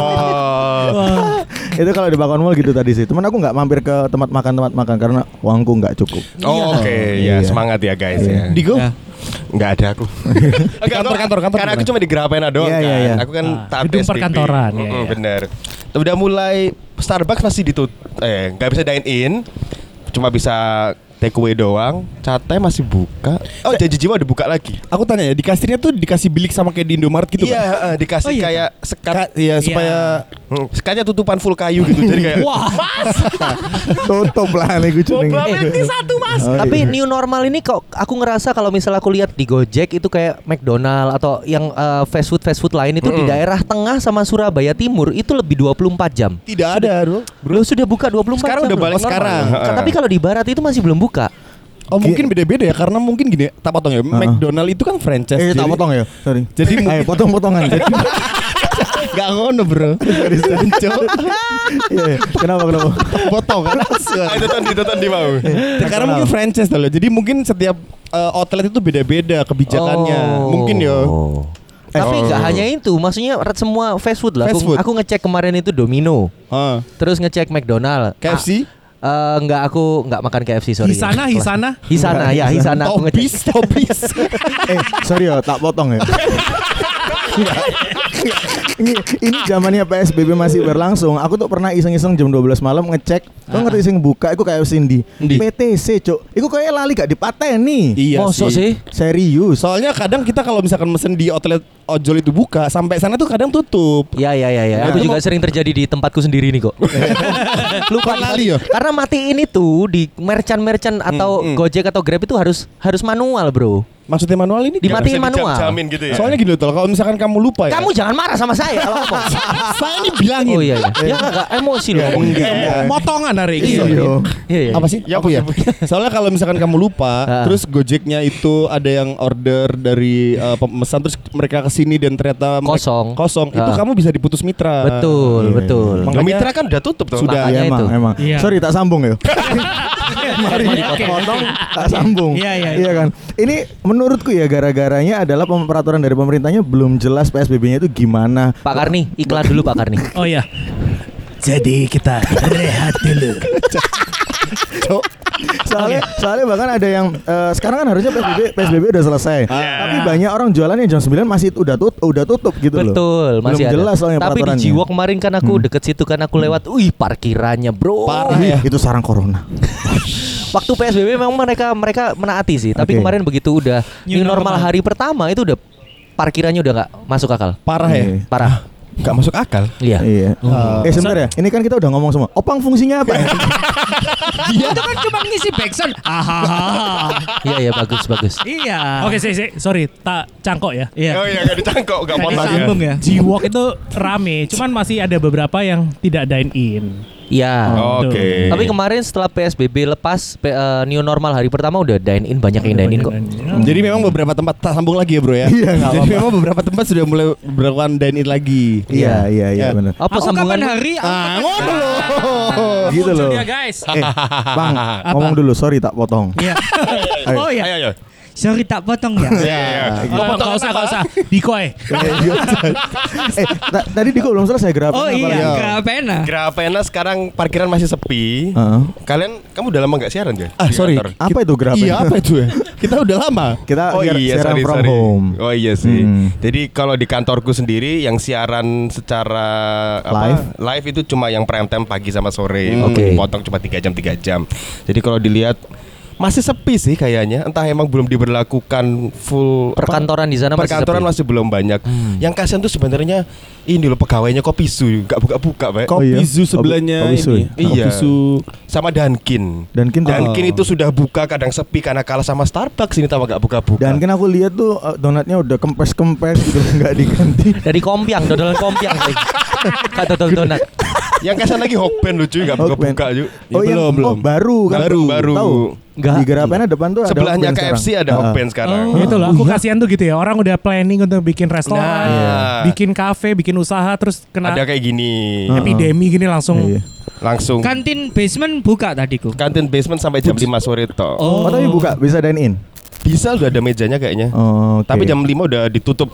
Speaker 6: Oh.
Speaker 4: Itu kalau di Bakon Mall gitu tadi sih. Cuman aku nggak mampir ke tempat makan tempat makan karena uangku nggak cukup.
Speaker 2: Iya.
Speaker 6: Oh, Oke, ya semangat ya guys ya.
Speaker 2: Digo.
Speaker 3: Ya.
Speaker 6: Enggak ada aku. kantor, kantor, kantor. Karena aku cuma di Grapena doang
Speaker 4: Iya,
Speaker 6: kan.
Speaker 4: iya, iya.
Speaker 6: Aku kan
Speaker 1: Ah,
Speaker 6: taat
Speaker 1: gedung
Speaker 6: SPP.
Speaker 1: perkantoran,
Speaker 6: Mm-mm,
Speaker 1: iya, iya.
Speaker 6: Bener. Udah mulai Starbucks pasti ditut eh nggak bisa dine in. Cuma bisa take away doang. Cate masih buka. Oh, janji jiwa udah buka lagi.
Speaker 2: Aku tanya ya di kasirnya tuh dikasih bilik sama kayak di Indomaret gitu
Speaker 6: iya,
Speaker 2: kan?
Speaker 6: eh, dikasih
Speaker 1: Oh, iya.
Speaker 6: kayak sekat
Speaker 2: Ka- Iya supaya
Speaker 6: Hmm, sekatnya tutupan full kayu gitu. Jadi kayak
Speaker 3: Wah,
Speaker 4: Tutup lah nih gue jeneng.
Speaker 1: satu mas.
Speaker 4: Oh,
Speaker 5: Tapi
Speaker 4: iya.
Speaker 5: new normal ini kok aku ngerasa kalau misal aku lihat di Gojek itu kayak McDonald atau yang eh, fast food fast food lain itu di daerah tengah sama Surabaya Timur itu lebih 24 jam.
Speaker 2: tidak ada bro.
Speaker 5: Bro sudah buka 24
Speaker 6: Sekarang
Speaker 5: jam.
Speaker 6: udah
Speaker 5: loh.
Speaker 6: balik
Speaker 5: Normal.
Speaker 6: sekarang.
Speaker 5: Ka- Tapi kalau di barat itu masih belum buka.
Speaker 2: Oh mungkin beda-beda ya karena mungkin gini tak potong ya. McDonald itu kan franchise.
Speaker 4: Eh, tak
Speaker 2: jadi-
Speaker 4: potong ya. Sorry.
Speaker 2: Jadi
Speaker 4: Ayo
Speaker 2: mungkin-
Speaker 4: potong-potongan. Jadi
Speaker 2: Gak ngono bro. Garis Cok.
Speaker 4: Iya, iya. kenapa kenapa?
Speaker 2: Potong kan langsung.
Speaker 6: Ah, itu tadi itu tadi mau.
Speaker 5: Eh,
Speaker 2: Ya, karena mungkin franchise dulu. Jadi mungkin setiap eh, outlet itu beda-beda kebijakannya.
Speaker 5: Oh.
Speaker 2: Mungkin ya.
Speaker 5: Tapi
Speaker 4: Eh.
Speaker 2: Oh.
Speaker 5: nggak hanya itu, maksudnya rat- semua fast food lah.
Speaker 2: Fast
Speaker 5: aku,
Speaker 2: food.
Speaker 5: aku ngecek kemarin itu Domino,
Speaker 2: Heeh.
Speaker 5: terus ngecek McDonald.
Speaker 2: KFC?
Speaker 5: Ah, eh, nggak aku nggak makan KFC sorry.
Speaker 1: Hisana, Hisana?
Speaker 5: Hisana ya Hisana aku
Speaker 2: Tobis,
Speaker 5: ngecek.
Speaker 2: Tobis.
Speaker 4: Eh, sorry ya, tak potong ya. ini ini zamannya PSBB masih berlangsung. Aku tuh pernah iseng-iseng jam 12 malam ngecek. Kau ngerti sing buka iku kayak Cindy. PTC, Cuk. Iku kayak lali gak dipateni.
Speaker 2: Iya
Speaker 5: Mosok sih.
Speaker 4: Serius.
Speaker 2: Soalnya kadang kita kalau misalkan mesen di outlet ojol itu buka, sampai sana tuh kadang tutup.
Speaker 5: Ya ya ya ya.
Speaker 2: Nah,
Speaker 5: Aku
Speaker 2: itu
Speaker 5: juga
Speaker 2: mau-
Speaker 5: sering terjadi di tempatku sendiri nih kok. Eh, Lupa
Speaker 2: Lali ya?
Speaker 5: Karena matiin itu di merchant-merchant atau Gojek atau Grab itu harus harus manual, Bro.
Speaker 2: Maksudnya manual ini
Speaker 5: Dimatiin
Speaker 2: gak bisa
Speaker 5: manual.
Speaker 6: Jamin gitu ya.
Speaker 2: Soalnya gini loh, Tol, kalau misalkan kamu lupa ya.
Speaker 5: Kamu jangan marah sama saya kalau ngomong.
Speaker 2: saya ini bilangin.
Speaker 5: Oh iya iya. Ya enggak emosi loh.
Speaker 2: Enggak.
Speaker 1: Motongan Iya, hari ini.
Speaker 4: Iya.
Speaker 5: Iya iya.
Speaker 2: Apa sih?
Speaker 6: Ya,
Speaker 2: Aku ya.
Speaker 6: aku
Speaker 2: Soalnya kalau misalkan kamu lupa,
Speaker 5: Ah.
Speaker 2: terus Gojeknya itu ada yang order dari uh, pemesan terus mereka ke sini dan ternyata mereka-
Speaker 5: Kosong.
Speaker 2: Kosong. Itu
Speaker 5: Ah.
Speaker 2: kamu bisa diputus mitra.
Speaker 5: Betul,
Speaker 4: Iya, iya.
Speaker 5: betul.
Speaker 2: Makanya-
Speaker 6: Mitra kan udah tutup tuh.
Speaker 2: Sudah.
Speaker 4: Iya
Speaker 5: Makanya
Speaker 2: ya,
Speaker 5: itu.
Speaker 4: emang, emang.
Speaker 1: Iya.
Speaker 4: Sorry tak sambung ya.
Speaker 1: Mari
Speaker 4: potong tak sambung.
Speaker 1: Iya, iya,
Speaker 4: Iya kan. Ini menurutku ya gara-garanya adalah pem- peraturan dari pemerintahnya belum jelas PSBB-nya itu gimana.
Speaker 5: Pak Karni, iklan dulu Pak Karni.
Speaker 1: Oh iya. Jadi kita rehat dulu.
Speaker 4: soalnya soalnya bahkan ada yang eh, sekarang kan harusnya PSBB PSBB udah selesai. Tapi banyak orang jualannya jam 9 masih udah tutup udah tutup gitu loh.
Speaker 5: Betul, masih
Speaker 4: Belum
Speaker 5: ada.
Speaker 4: jelas soalnya
Speaker 5: Tapi di
Speaker 4: peraturannya.
Speaker 5: Jiwo kemarin kan aku deket situ kan aku lewat, wih parkirannya bro.
Speaker 2: Parah
Speaker 4: Ih,
Speaker 2: ya.
Speaker 4: Iya, Itu sarang corona.
Speaker 5: Waktu PSBB memang mereka mereka menaati sih,
Speaker 4: Oke.
Speaker 5: tapi kemarin begitu udah
Speaker 1: New
Speaker 5: new normal
Speaker 1: normal.
Speaker 5: hari pertama itu udah parkirannya udah nggak masuk akal.
Speaker 2: Parah ya.
Speaker 4: Iya.
Speaker 5: Parah.
Speaker 2: Gak masuk akal.
Speaker 5: Iya.
Speaker 4: Iya. Eh sebentar ya, ini kan kita udah ngomong semua. Opang fungsinya apa? ya? Iya,
Speaker 3: Itu kan cuma ngisi backsound. Ahaha.
Speaker 5: Iya iya bagus bagus.
Speaker 3: Iya.
Speaker 1: Oke, sih, sih. Sorry, tak cangkok ya.
Speaker 3: Iya.
Speaker 6: Oh iya gak dicangkok, gak
Speaker 3: Tadi
Speaker 6: potong ya.
Speaker 3: sambung
Speaker 1: Iya.
Speaker 3: ya.
Speaker 1: Jiwok itu rame, cuman masih ada beberapa yang tidak dine in.
Speaker 5: Iya.
Speaker 1: Oh,
Speaker 6: Oke.
Speaker 5: Tapi kemarin setelah PSBB lepas pe- eh, new normal hari pertama udah dine in banyak yang
Speaker 1: Iya,
Speaker 5: dine in kok.
Speaker 2: Jadi memang beberapa tempat tak sambung lagi ya bro ya.
Speaker 4: Iya, nggak
Speaker 2: Jadi
Speaker 4: apa-apa.
Speaker 2: memang beberapa tempat sudah mulai berlakukan dine in lagi.
Speaker 4: Iya iya iya
Speaker 2: Iya.
Speaker 4: benar.
Speaker 5: Apa
Speaker 3: Aku kapan
Speaker 5: sambungan?
Speaker 3: hari
Speaker 2: Ah, ngono loh.
Speaker 4: Gitu loh.
Speaker 1: Ya guys.
Speaker 4: Eh, Bang, ngomong dulu. Sorry tak potong.
Speaker 3: Iya. Oh
Speaker 6: Ayo
Speaker 3: iya.
Speaker 6: ayo. Iya,
Speaker 3: Sorry tak potong ya.
Speaker 1: Oh, nggak usah, nggak usah. Dikoy.
Speaker 4: eh, ta- tadi Diko belum selesai grab.
Speaker 3: Oh iya, Grapena.
Speaker 6: Grapena sekarang parkiran masih sepi.
Speaker 4: Heeh.
Speaker 6: Kalian kamu udah lama gak siaran ya?
Speaker 2: Ah
Speaker 6: Di
Speaker 2: sorry.
Speaker 6: kantor?
Speaker 4: Apa itu grab?
Speaker 2: Iya apa itu ya? Kita udah lama.
Speaker 4: Kita
Speaker 6: Oh iya,
Speaker 4: siaran
Speaker 6: sorry,
Speaker 4: from
Speaker 6: sorry.
Speaker 4: home.
Speaker 6: Oh iya sih.
Speaker 4: Hmm.
Speaker 6: Jadi kalau di kantorku sendiri yang siaran secara
Speaker 4: Live? Hmm.
Speaker 6: apa live itu cuma yang prime time pagi sama sore.
Speaker 5: Oke.
Speaker 6: Potong cuma 3 jam 3 jam. Jadi kalau dilihat masih sepi sih kayaknya. Entah emang belum diberlakukan full apa,
Speaker 5: Perkantoran di sana masih
Speaker 6: Perkantoran
Speaker 5: sepi. Hmm.
Speaker 6: masih belum banyak. Yang kasihan tuh sebenarnya ini loh pegawainya kopi su, gak buka-buka, Pak.
Speaker 4: Kop-
Speaker 2: Kopi
Speaker 4: iya.
Speaker 2: Zoo sebelahnya
Speaker 4: Kopi Zoo
Speaker 2: ini.
Speaker 4: ya?
Speaker 2: Oh, Kopi
Speaker 6: Iya.
Speaker 2: Zoo.
Speaker 6: sama Dunkin.
Speaker 4: Dunkin tuh-
Speaker 6: Dunkin itu sudah buka kadang sepi karena kalah sama Starbucks ini tambah gak buka-buka.
Speaker 4: Dan kan aku lihat tuh eh, donatnya udah kempes-kempes gitu nggak diganti.
Speaker 5: Dari kompiang, dodolan kompiang. sih. Kak dodol donat.
Speaker 6: Yang kasihan lagi Hokben lucu gak
Speaker 4: Hokben.
Speaker 6: buka-buka yuk.
Speaker 4: Oh,
Speaker 2: Ya,
Speaker 4: yang oh,
Speaker 2: belum, belum.
Speaker 4: baru kan?
Speaker 6: Baru, baru.
Speaker 4: Tahu.
Speaker 5: Nggak.
Speaker 4: Di Grapena depan tuh ada
Speaker 6: Sebelahnya
Speaker 4: Hokben
Speaker 6: KFC
Speaker 4: sekarang.
Speaker 6: ada
Speaker 4: Ah,
Speaker 6: Hokben sekarang.
Speaker 1: Oh, itu loh, aku kasihan tuh gitu ya. Orang udah planning untuk bikin restoran,
Speaker 6: Nah.
Speaker 1: bikin kafe, bikin usaha, terus kena
Speaker 6: Ada kayak gini.
Speaker 4: Heeh.
Speaker 1: epidemi gini langsung.
Speaker 4: Iya.
Speaker 6: Langsung
Speaker 3: Kantin basement buka tadi ku.
Speaker 6: kantin basement sampai jam 5 sore toh.
Speaker 4: Oh, tapi buka bisa dine in.
Speaker 6: Bisa udah ada mejanya kayaknya.
Speaker 4: Oh, oke.
Speaker 6: Tapi jam 5 udah ditutup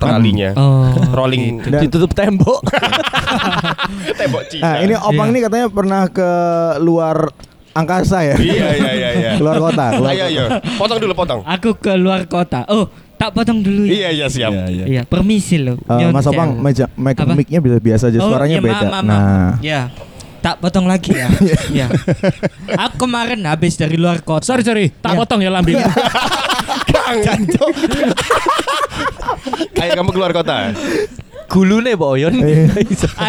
Speaker 6: talinya.
Speaker 3: Oh.
Speaker 6: Rolling
Speaker 4: Dan-
Speaker 5: Ditutup tembok.
Speaker 6: tembok Cina.
Speaker 4: Ah, ini
Speaker 5: Iya.
Speaker 4: Opang ini katanya pernah ke luar angkasa ya.
Speaker 6: Iya iya iya iya.
Speaker 4: Keluar kota, keluar
Speaker 6: Ayo ayo. Potong dulu potong.
Speaker 3: Aku keluar kota. Oh, tak potong dulu ya.
Speaker 6: Iya iya siap.
Speaker 3: Iya, permisi loh.
Speaker 4: Eh, Mas Opang, meja, mic,
Speaker 3: Apa?
Speaker 4: mic-nya bisa biasa aja,
Speaker 5: Oh, iya,
Speaker 3: Oh, iya,
Speaker 4: suaranya beda. Nah,
Speaker 3: Ya. Tak potong lagi ya. Iya. Aku kemarin habis dari luar kota.
Speaker 1: Sorry, sorry. Tak
Speaker 3: Iya.
Speaker 1: potong ya lambing.
Speaker 6: Kang. Ayo kamu keluar kota.
Speaker 5: Gulune Pak Oyon.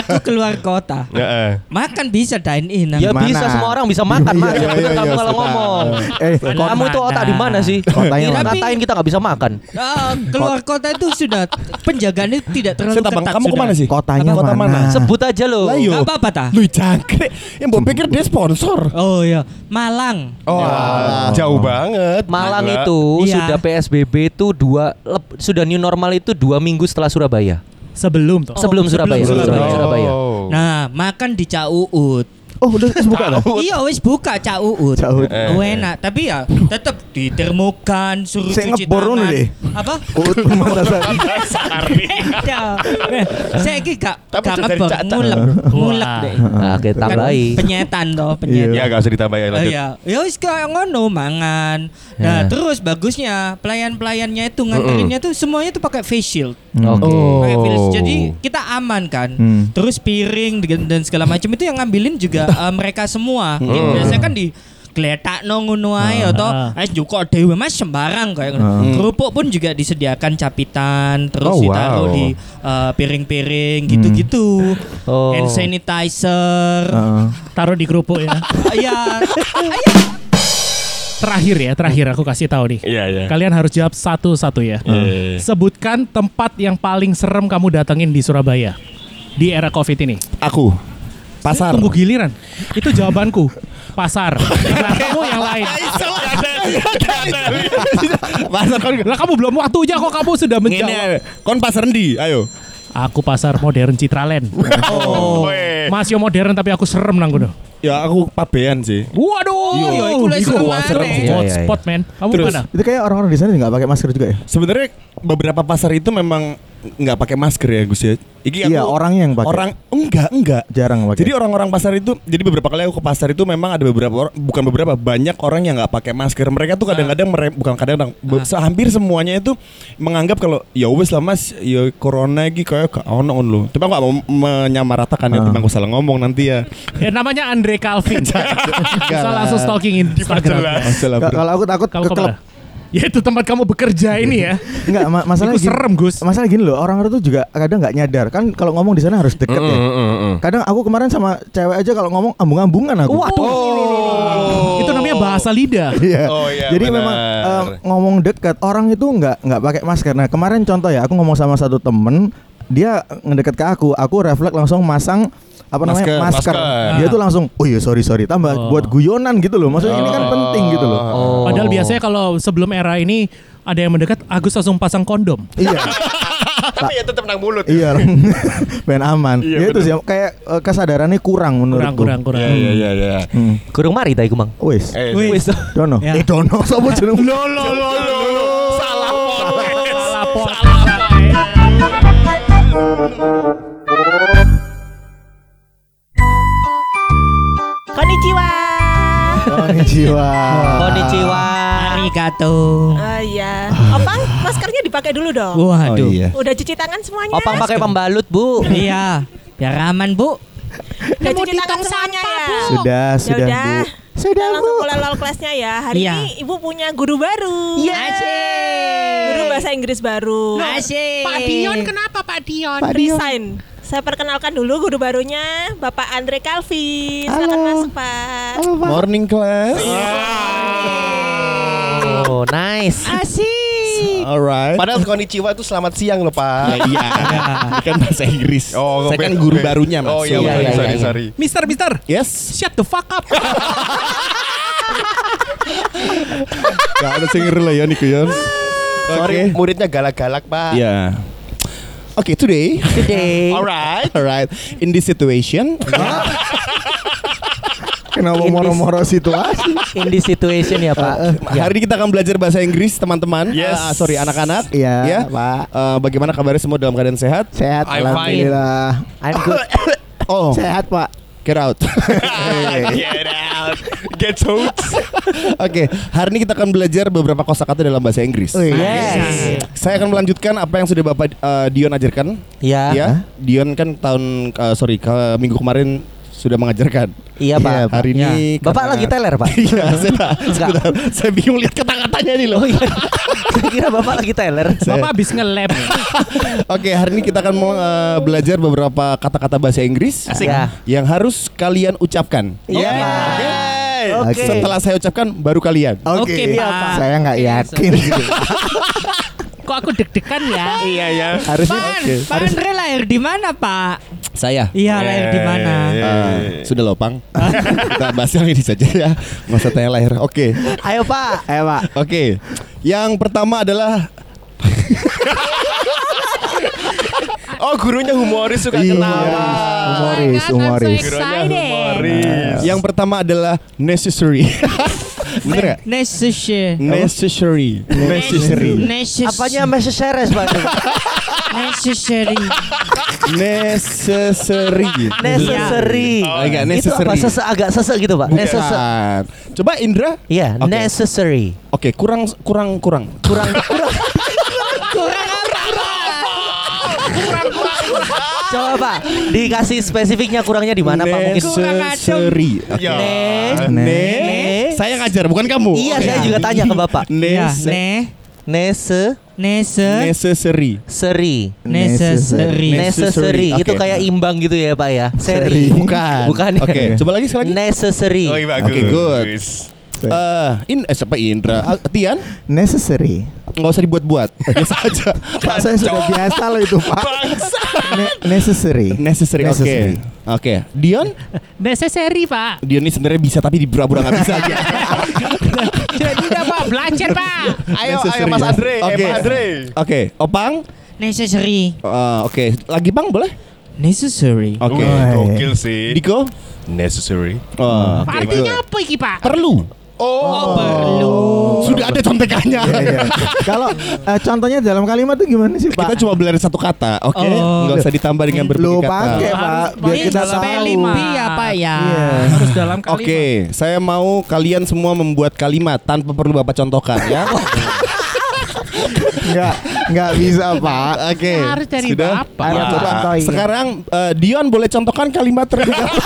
Speaker 3: Aku keluar kota.
Speaker 6: Heeh.
Speaker 3: Makan bisa dine in.
Speaker 5: ya
Speaker 4: Gimana?
Speaker 5: bisa semua orang bisa makan mas. Yang
Speaker 2: Iya, iya,
Speaker 5: bener
Speaker 2: iya,
Speaker 5: kamu kalau
Speaker 2: suka.
Speaker 5: ngomong.
Speaker 4: Eh,
Speaker 3: Kota
Speaker 5: Kamu tuh otak di
Speaker 3: mana?
Speaker 5: mana sih?
Speaker 4: Kotanya
Speaker 5: Kira
Speaker 3: mana?
Speaker 5: katain kita nggak bisa makan.
Speaker 3: Ah, keluar kota itu sudah penjagaannya tidak terlalu
Speaker 2: Saya tabang,
Speaker 3: ketat
Speaker 2: kamu
Speaker 3: sudah.
Speaker 5: Iya.
Speaker 2: kemana sih?
Speaker 4: kotanya
Speaker 2: Kota mana?
Speaker 4: mana?
Speaker 5: Sebut aja
Speaker 4: Iya.
Speaker 5: loh.
Speaker 2: Ah. Lah, iya. yuk.
Speaker 3: Gak apa-apa ta?
Speaker 2: Lu jangkrik. Yang gue pikir dia sponsor.
Speaker 3: Oh iya, Malang.
Speaker 6: Oh, alah, jauh banget.
Speaker 5: Malang
Speaker 6: Gila.
Speaker 5: itu
Speaker 3: Iya.
Speaker 5: sudah PSBB itu dua lep- sudah new normal itu dua minggu setelah Surabaya.
Speaker 1: Sebelum tuh.
Speaker 5: Oh, sebelum Surabaya.
Speaker 1: Sebelum
Speaker 5: Surabaya.
Speaker 1: Surabaya.
Speaker 5: Iya, Surabaya.
Speaker 6: Oh.
Speaker 3: Nah, makan di Cak Uut.
Speaker 4: Oh, udah buka dah.
Speaker 3: Iya wes buka Cak Uut.
Speaker 4: Cak
Speaker 6: Eh.
Speaker 4: Uut.
Speaker 3: Oh, enak, tapi ya tetap ditermokan suruh
Speaker 4: Saya
Speaker 3: cuci
Speaker 4: ngebor
Speaker 3: tangan.
Speaker 4: dulu deh.
Speaker 3: Apa?
Speaker 4: Uut pemanasan.
Speaker 3: Beda. Iya. Saya ki gak
Speaker 6: Tapi
Speaker 3: gak
Speaker 6: itu dari
Speaker 3: ngebor,
Speaker 6: Cak Cak.
Speaker 3: ngulek, ngulek deh.
Speaker 5: Nah, kita
Speaker 3: Kan
Speaker 5: tambahi.
Speaker 3: Penyetan toh,
Speaker 4: Iya.
Speaker 3: penyetan.
Speaker 6: Ya gak usah ditambahin
Speaker 3: Oh
Speaker 6: lanjut.
Speaker 3: iya, ya wis kayak ngono mangan. Nah,
Speaker 5: Ya.
Speaker 3: terus bagusnya pelayan-pelayannya itu nganterinnya tuh semuanya tuh pakai face shield.
Speaker 5: Oke.
Speaker 3: Pakai face shield. Jadi
Speaker 6: Oh.
Speaker 3: kita aman kan.
Speaker 4: Hmm.
Speaker 3: Terus piring dan- dan segala macam itu yang ngambilin juga eh, mereka semua. Gitu. Biasanya kan di geletak no ngono ae atau "Eh, es juga dewe mas sembarang kayak ngono. Kerupuk pun juga disediakan capitan, terus
Speaker 6: Oh,
Speaker 3: ditaruh
Speaker 6: wow.
Speaker 3: di eh, piring-piring gitu-gitu.
Speaker 5: Oh.
Speaker 3: Hand sanitizer.
Speaker 4: Heeh.
Speaker 1: Taruh di kerupuk ya.
Speaker 3: Ya,
Speaker 1: Terakhir ya, terakhir aku kasih tahu nih.
Speaker 6: Iya, iya.
Speaker 1: Kalian harus jawab satu-satu ya.
Speaker 6: Iya, iya, iya.
Speaker 1: Sebutkan tempat yang paling serem kamu datengin di Surabaya di era Covid ini.
Speaker 2: Aku. Pasar.
Speaker 1: Tunggu giliran. Itu jawabanku. Pasar. Nah, kamu yang lain.
Speaker 2: pasar kon.
Speaker 1: Lah kamu belum waktunya kok kamu sudah
Speaker 2: Ngene
Speaker 1: menjawab.
Speaker 2: ae. kon pasar ndi? Ayo.
Speaker 1: Aku pasar modern Citraland.
Speaker 6: Oh.
Speaker 1: Masih modern tapi aku serem nang kono.
Speaker 2: Ya aku pabean sih.
Speaker 1: Waduh.
Speaker 3: Iya, iku lah serem
Speaker 1: wah, serem
Speaker 5: aneh.
Speaker 1: hot
Speaker 5: Iya, iya, iya.
Speaker 1: spot man. Kamu
Speaker 2: Terus?
Speaker 1: mana?
Speaker 4: Itu kayak orang-orang di sana nggak pakai masker juga ya?
Speaker 2: Sebenarnya beberapa pasar itu memang nggak pakai masker ya Gus ya. Iki
Speaker 4: Iya, orangnya yang pakai.
Speaker 2: Orang enggak enggak.
Speaker 4: Jarang pakai.
Speaker 2: Jadi orang-orang pasar itu, jadi beberapa kali aku ke pasar itu memang ada beberapa orang, bukan beberapa, banyak orang yang nggak pakai masker. Mereka tuh kadang-kadang, mere- bukan kadang-kadang, be- se- hampir semuanya itu menganggap kalau ya wes lah mas, ya corona iki kayak gak ono on lo. Tapi aku gak mau menyamaratakan
Speaker 4: Ah.
Speaker 2: ya, tentang aku salah ngomong nanti ya.
Speaker 1: Ya namanya Andre Calvin. Bisa langsung stalking Instagram.
Speaker 2: Aja lah,
Speaker 4: Nggak,
Speaker 2: bro.
Speaker 4: Kalau aku takut
Speaker 1: Kamu
Speaker 4: ke klub.
Speaker 1: kemana? Ya itu tempat kamu bekerja ini ya.
Speaker 4: Enggak, ma masalah
Speaker 1: Itu serem, Gus.
Speaker 4: Masalah gini loh, orang-orang tuh juga kadang nggak nyadar kan kalau ngomong di sana harus deket ya.
Speaker 2: Mm,
Speaker 4: Kadang aku kemarin sama cewek aja kalau ngomong ambung-ambungan aku. Oh,
Speaker 1: Itu namanya bahasa lidah.
Speaker 4: Iya.
Speaker 6: Oh, iya,
Speaker 4: Jadi
Speaker 6: benar.
Speaker 4: memang em, ngomong dekat orang itu nggak nggak pakai masker. Nah kemarin contoh ya, aku ngomong sama satu temen, dia ngedekat ke aku, aku refleks langsung masang apa namanya masker.
Speaker 2: Masker,
Speaker 6: masker.
Speaker 4: Dia tuh langsung, oh iya sorry sorry, tambah
Speaker 1: Oh.
Speaker 4: buat guyonan gitu loh. Maksudnya ini kan penting gitu loh.
Speaker 5: Oh.
Speaker 1: Padahal biasanya kalau sebelum era ini ada yang mendekat, Agus langsung pasang kondom.
Speaker 4: Iya.
Speaker 6: Tapi ya tetap nang mulut.
Speaker 4: Iya, pengen aman. ya itu sih kayak eh, kesadarannya kurang
Speaker 1: Kurang,
Speaker 4: menurutku.
Speaker 1: kurang, kurang.
Speaker 6: Iya, iya, iya, iya.
Speaker 4: Hmm.
Speaker 5: Kurung mari ta iku, Mang.
Speaker 4: Wis.
Speaker 6: Eh,
Speaker 5: Wis.
Speaker 4: Dono.
Speaker 3: Ya.
Speaker 4: Eh Dono sapa jeneng?
Speaker 6: Salah pot.
Speaker 1: Salah pot.
Speaker 7: Konnichiwa.
Speaker 4: Oh, Konnichiwa.
Speaker 5: Konnichiwa.
Speaker 3: Arigato.
Speaker 7: Oh iya. Opang, maskernya dipakai dulu dong.
Speaker 3: Waduh.
Speaker 2: Oh, iya.
Speaker 7: Udah cuci tangan semuanya.
Speaker 5: Opang pakai pembalut, Bu.
Speaker 3: Iya. Biar aman, Bu.
Speaker 7: Udah cuci tangan semuanya ya.
Speaker 4: Sudah, sudah,
Speaker 7: Yaudah.
Speaker 4: Bu.
Speaker 7: Kita
Speaker 4: Sudah, Bu.
Speaker 7: langsung mulai lol kelasnya ya. Hari
Speaker 3: Iya.
Speaker 7: ini Ibu punya guru baru.
Speaker 3: Asik.
Speaker 7: Guru bahasa Inggris baru.
Speaker 3: Asik.
Speaker 1: Eh.
Speaker 8: Pak Dion kenapa Pak Dion?
Speaker 7: Resign. Saya perkenalkan dulu guru barunya Bapak Andre Kalvi. Silakan masuk, Pak.
Speaker 2: Morning class.
Speaker 5: Iya. Oh, nice.
Speaker 3: Asik.
Speaker 2: Alright.
Speaker 6: Padahal konnichiwa itu selamat siang loh, Pak.
Speaker 2: Iya. Kan bahasa Inggris. Saya kan guru barunya mas.
Speaker 6: Oh iya,
Speaker 5: Iya,
Speaker 6: sorry,
Speaker 5: iya,
Speaker 6: sorry,
Speaker 5: iya.
Speaker 6: sorry.
Speaker 1: Mister, mister.
Speaker 2: Yes.
Speaker 1: Shut the fuck up.
Speaker 2: Gak ada singer lah ya Niku ya.
Speaker 6: Sorry,
Speaker 2: Oke.
Speaker 6: muridnya galak-galak, Pak.
Speaker 2: Ya. Oke, today.
Speaker 5: Today.
Speaker 6: Alright.
Speaker 2: Alright, in this situation,
Speaker 4: Kenapa
Speaker 5: Inggris.
Speaker 4: moro-moro situasi? Eh,
Speaker 5: In this situation ya, Pak.
Speaker 2: hari ini kita akan belajar bahasa Inggris, teman-teman.
Speaker 6: Iya. Yes.
Speaker 2: Ah, sorry, anak-anak.
Speaker 4: Iya,
Speaker 2: Ya.
Speaker 4: Pak.
Speaker 2: Eh, bagaimana kabarnya semua dalam keadaan sehat?
Speaker 4: Sehat,
Speaker 6: I'm fine.
Speaker 4: alhamdulillah.
Speaker 5: I'm good.
Speaker 2: Oh,
Speaker 4: Sehat, Pak.
Speaker 2: get out. Oke,
Speaker 6: Get out. Get out.
Speaker 2: hari ini kita akan belajar beberapa kosakata dalam bahasa Inggris. Nah,
Speaker 4: Wih.
Speaker 5: Oh, iya. Yes.
Speaker 2: Saya akan melanjutkan apa yang sudah Bapak eh, Dion ajarkan.
Speaker 5: Ya.
Speaker 2: Ya, Dion kan tahun eh, sorry, ke minggu kemarin sudah mengajarkan.
Speaker 5: Iya, Pak.
Speaker 2: Iya, Hari
Speaker 5: Ya.
Speaker 2: ini
Speaker 5: Bapak
Speaker 2: karena-
Speaker 5: lagi teler, Pak?
Speaker 2: Iya, saya, sebentar. saya bingung lihat kata-katanya nih
Speaker 5: Oh, iya.
Speaker 2: loh.
Speaker 5: Saya kira Bapak lagi teler.
Speaker 2: Saya-
Speaker 1: Bapak habis nge-lab.
Speaker 2: Oke, hari ini kita akan mau eh, belajar beberapa kata-kata bahasa Inggris
Speaker 5: Asik. Ya.
Speaker 2: yang harus kalian ucapkan.
Speaker 5: Iya.
Speaker 2: Oke.
Speaker 4: Oke.
Speaker 2: Setelah saya ucapkan baru kalian.
Speaker 4: Oke,
Speaker 3: Oke, Pak.
Speaker 4: saya nggak yakin. gitu.
Speaker 1: Kok aku deg-degan ya?
Speaker 6: Iya ya.
Speaker 2: Harusnya
Speaker 3: Pak,
Speaker 2: Oke.
Speaker 3: Pak Andre lahir di mana, Pak?
Speaker 2: saya.
Speaker 3: Iya, lahir di mana?
Speaker 2: Eh, sudah lopang. kita bahas yang ini saja ya. Nggak usah tanya lahir. Oke.
Speaker 5: Ayo, Pak.
Speaker 4: Eh pak,
Speaker 2: Oke, yang pertama adalah
Speaker 6: Oh gurunya humoris suka ketawa.
Speaker 8: Oh my
Speaker 4: humoris,
Speaker 8: God, I'm so
Speaker 4: humoris.
Speaker 8: excited.
Speaker 6: Gurunya humoris.
Speaker 2: Iya, yang pertama adalah necessary. Bener nggak?
Speaker 3: Necessary.
Speaker 2: Necessary. Necessary.
Speaker 3: Necessary.
Speaker 5: Apanya message series, Pak?
Speaker 3: necessary?
Speaker 2: Necessary.
Speaker 5: Necessary.
Speaker 2: Oh, enggak,
Speaker 5: Itu
Speaker 2: necessary.
Speaker 5: apa sese agak sese gitu, Pak? Necessary.
Speaker 2: Bukan. Coba Indra.
Speaker 5: Iya,
Speaker 2: Oke.
Speaker 5: necessary.
Speaker 2: Oke, kurang kurang kurang.
Speaker 5: Kurang kurang. Coba Pak, dikasih spesifiknya kurangnya di mana Pak? Mungkin
Speaker 2: necessary. Oke.
Speaker 6: Ya.
Speaker 5: Ne-
Speaker 2: Ne- Saya ngajar bukan kamu.
Speaker 5: Iya,
Speaker 2: Oke.
Speaker 5: saya juga tanya ke Bapak. Iya,
Speaker 3: Ya,
Speaker 2: Nece-
Speaker 3: ne
Speaker 5: Nese
Speaker 3: necessary.
Speaker 2: necessary.
Speaker 5: seri.
Speaker 2: Necessary.
Speaker 3: Necessary.
Speaker 5: Necessary
Speaker 2: Oke.
Speaker 5: itu kayak imbang gitu ya Pak ya. Seri.
Speaker 2: Bukan.
Speaker 5: Bukan. ya?
Speaker 2: Oke, coba lagi sekali lagi.
Speaker 5: Necessary.
Speaker 6: Oh, iya, bagus.
Speaker 2: Oke, good. Eh, in eh, siapa Indra? Ah, Tian,
Speaker 4: Necessary.
Speaker 2: nggak usah dibuat-buat. Biasa aja.
Speaker 4: Pak saya sudah biasa loh itu pak. Ne- necessary.
Speaker 2: Necessary. Oke.
Speaker 4: Necessary.
Speaker 2: Oke. Dion,
Speaker 1: Necessary, Pak.
Speaker 2: Dion ini sebenarnya bisa tapi dipura-pura nggak bisa aja.
Speaker 1: Jadi udah, Pak, belajar, Pak.
Speaker 6: Ayo ayo
Speaker 2: Necessary.
Speaker 6: Mas Andre, eh,
Speaker 2: Oke.
Speaker 6: Mas Andre.
Speaker 2: Oke, Opang.
Speaker 3: Necessary.
Speaker 2: Eh, oke, lagi Pang boleh?
Speaker 3: Necessary.
Speaker 2: Oke.
Speaker 6: Wih,
Speaker 4: Oke.
Speaker 6: Gokil sih.
Speaker 2: Diko.
Speaker 6: Necessary.
Speaker 2: iya. Oh,
Speaker 1: Pak,
Speaker 2: oke.
Speaker 1: Artinya apa iki, Pak?
Speaker 2: Perlu.
Speaker 6: Oh,
Speaker 3: Perlu.
Speaker 2: Sudah ada contekannya.
Speaker 4: Iya, iya. Kalau eh, contohnya dalam kalimat tuh gimana sih
Speaker 2: Kita
Speaker 4: pak?
Speaker 2: cuma belajar satu kata, oke?
Speaker 3: Oh.
Speaker 2: Nggak usah ditambah dengan
Speaker 4: Lu
Speaker 2: berbagai kata.
Speaker 4: pakai pak,
Speaker 1: Harus
Speaker 4: biar
Speaker 1: pakai
Speaker 4: kita
Speaker 1: dalam
Speaker 4: tahu.
Speaker 1: kalimat.
Speaker 3: Iya, Pak ya.
Speaker 4: Iya.
Speaker 1: Harus dalam
Speaker 2: Oke,
Speaker 1: kalimat.
Speaker 2: saya mau kalian semua membuat kalimat tanpa perlu bapak contohkan ya.
Speaker 1: Oh,
Speaker 4: Nggak, nggak bisa pak.
Speaker 2: Oke.
Speaker 1: Harus dari
Speaker 2: Sudah?
Speaker 1: Bapak.
Speaker 4: Harus
Speaker 2: Coba.
Speaker 4: dicontohin.
Speaker 2: Sekarang eh, Dion boleh contohkan kalimat terdekat.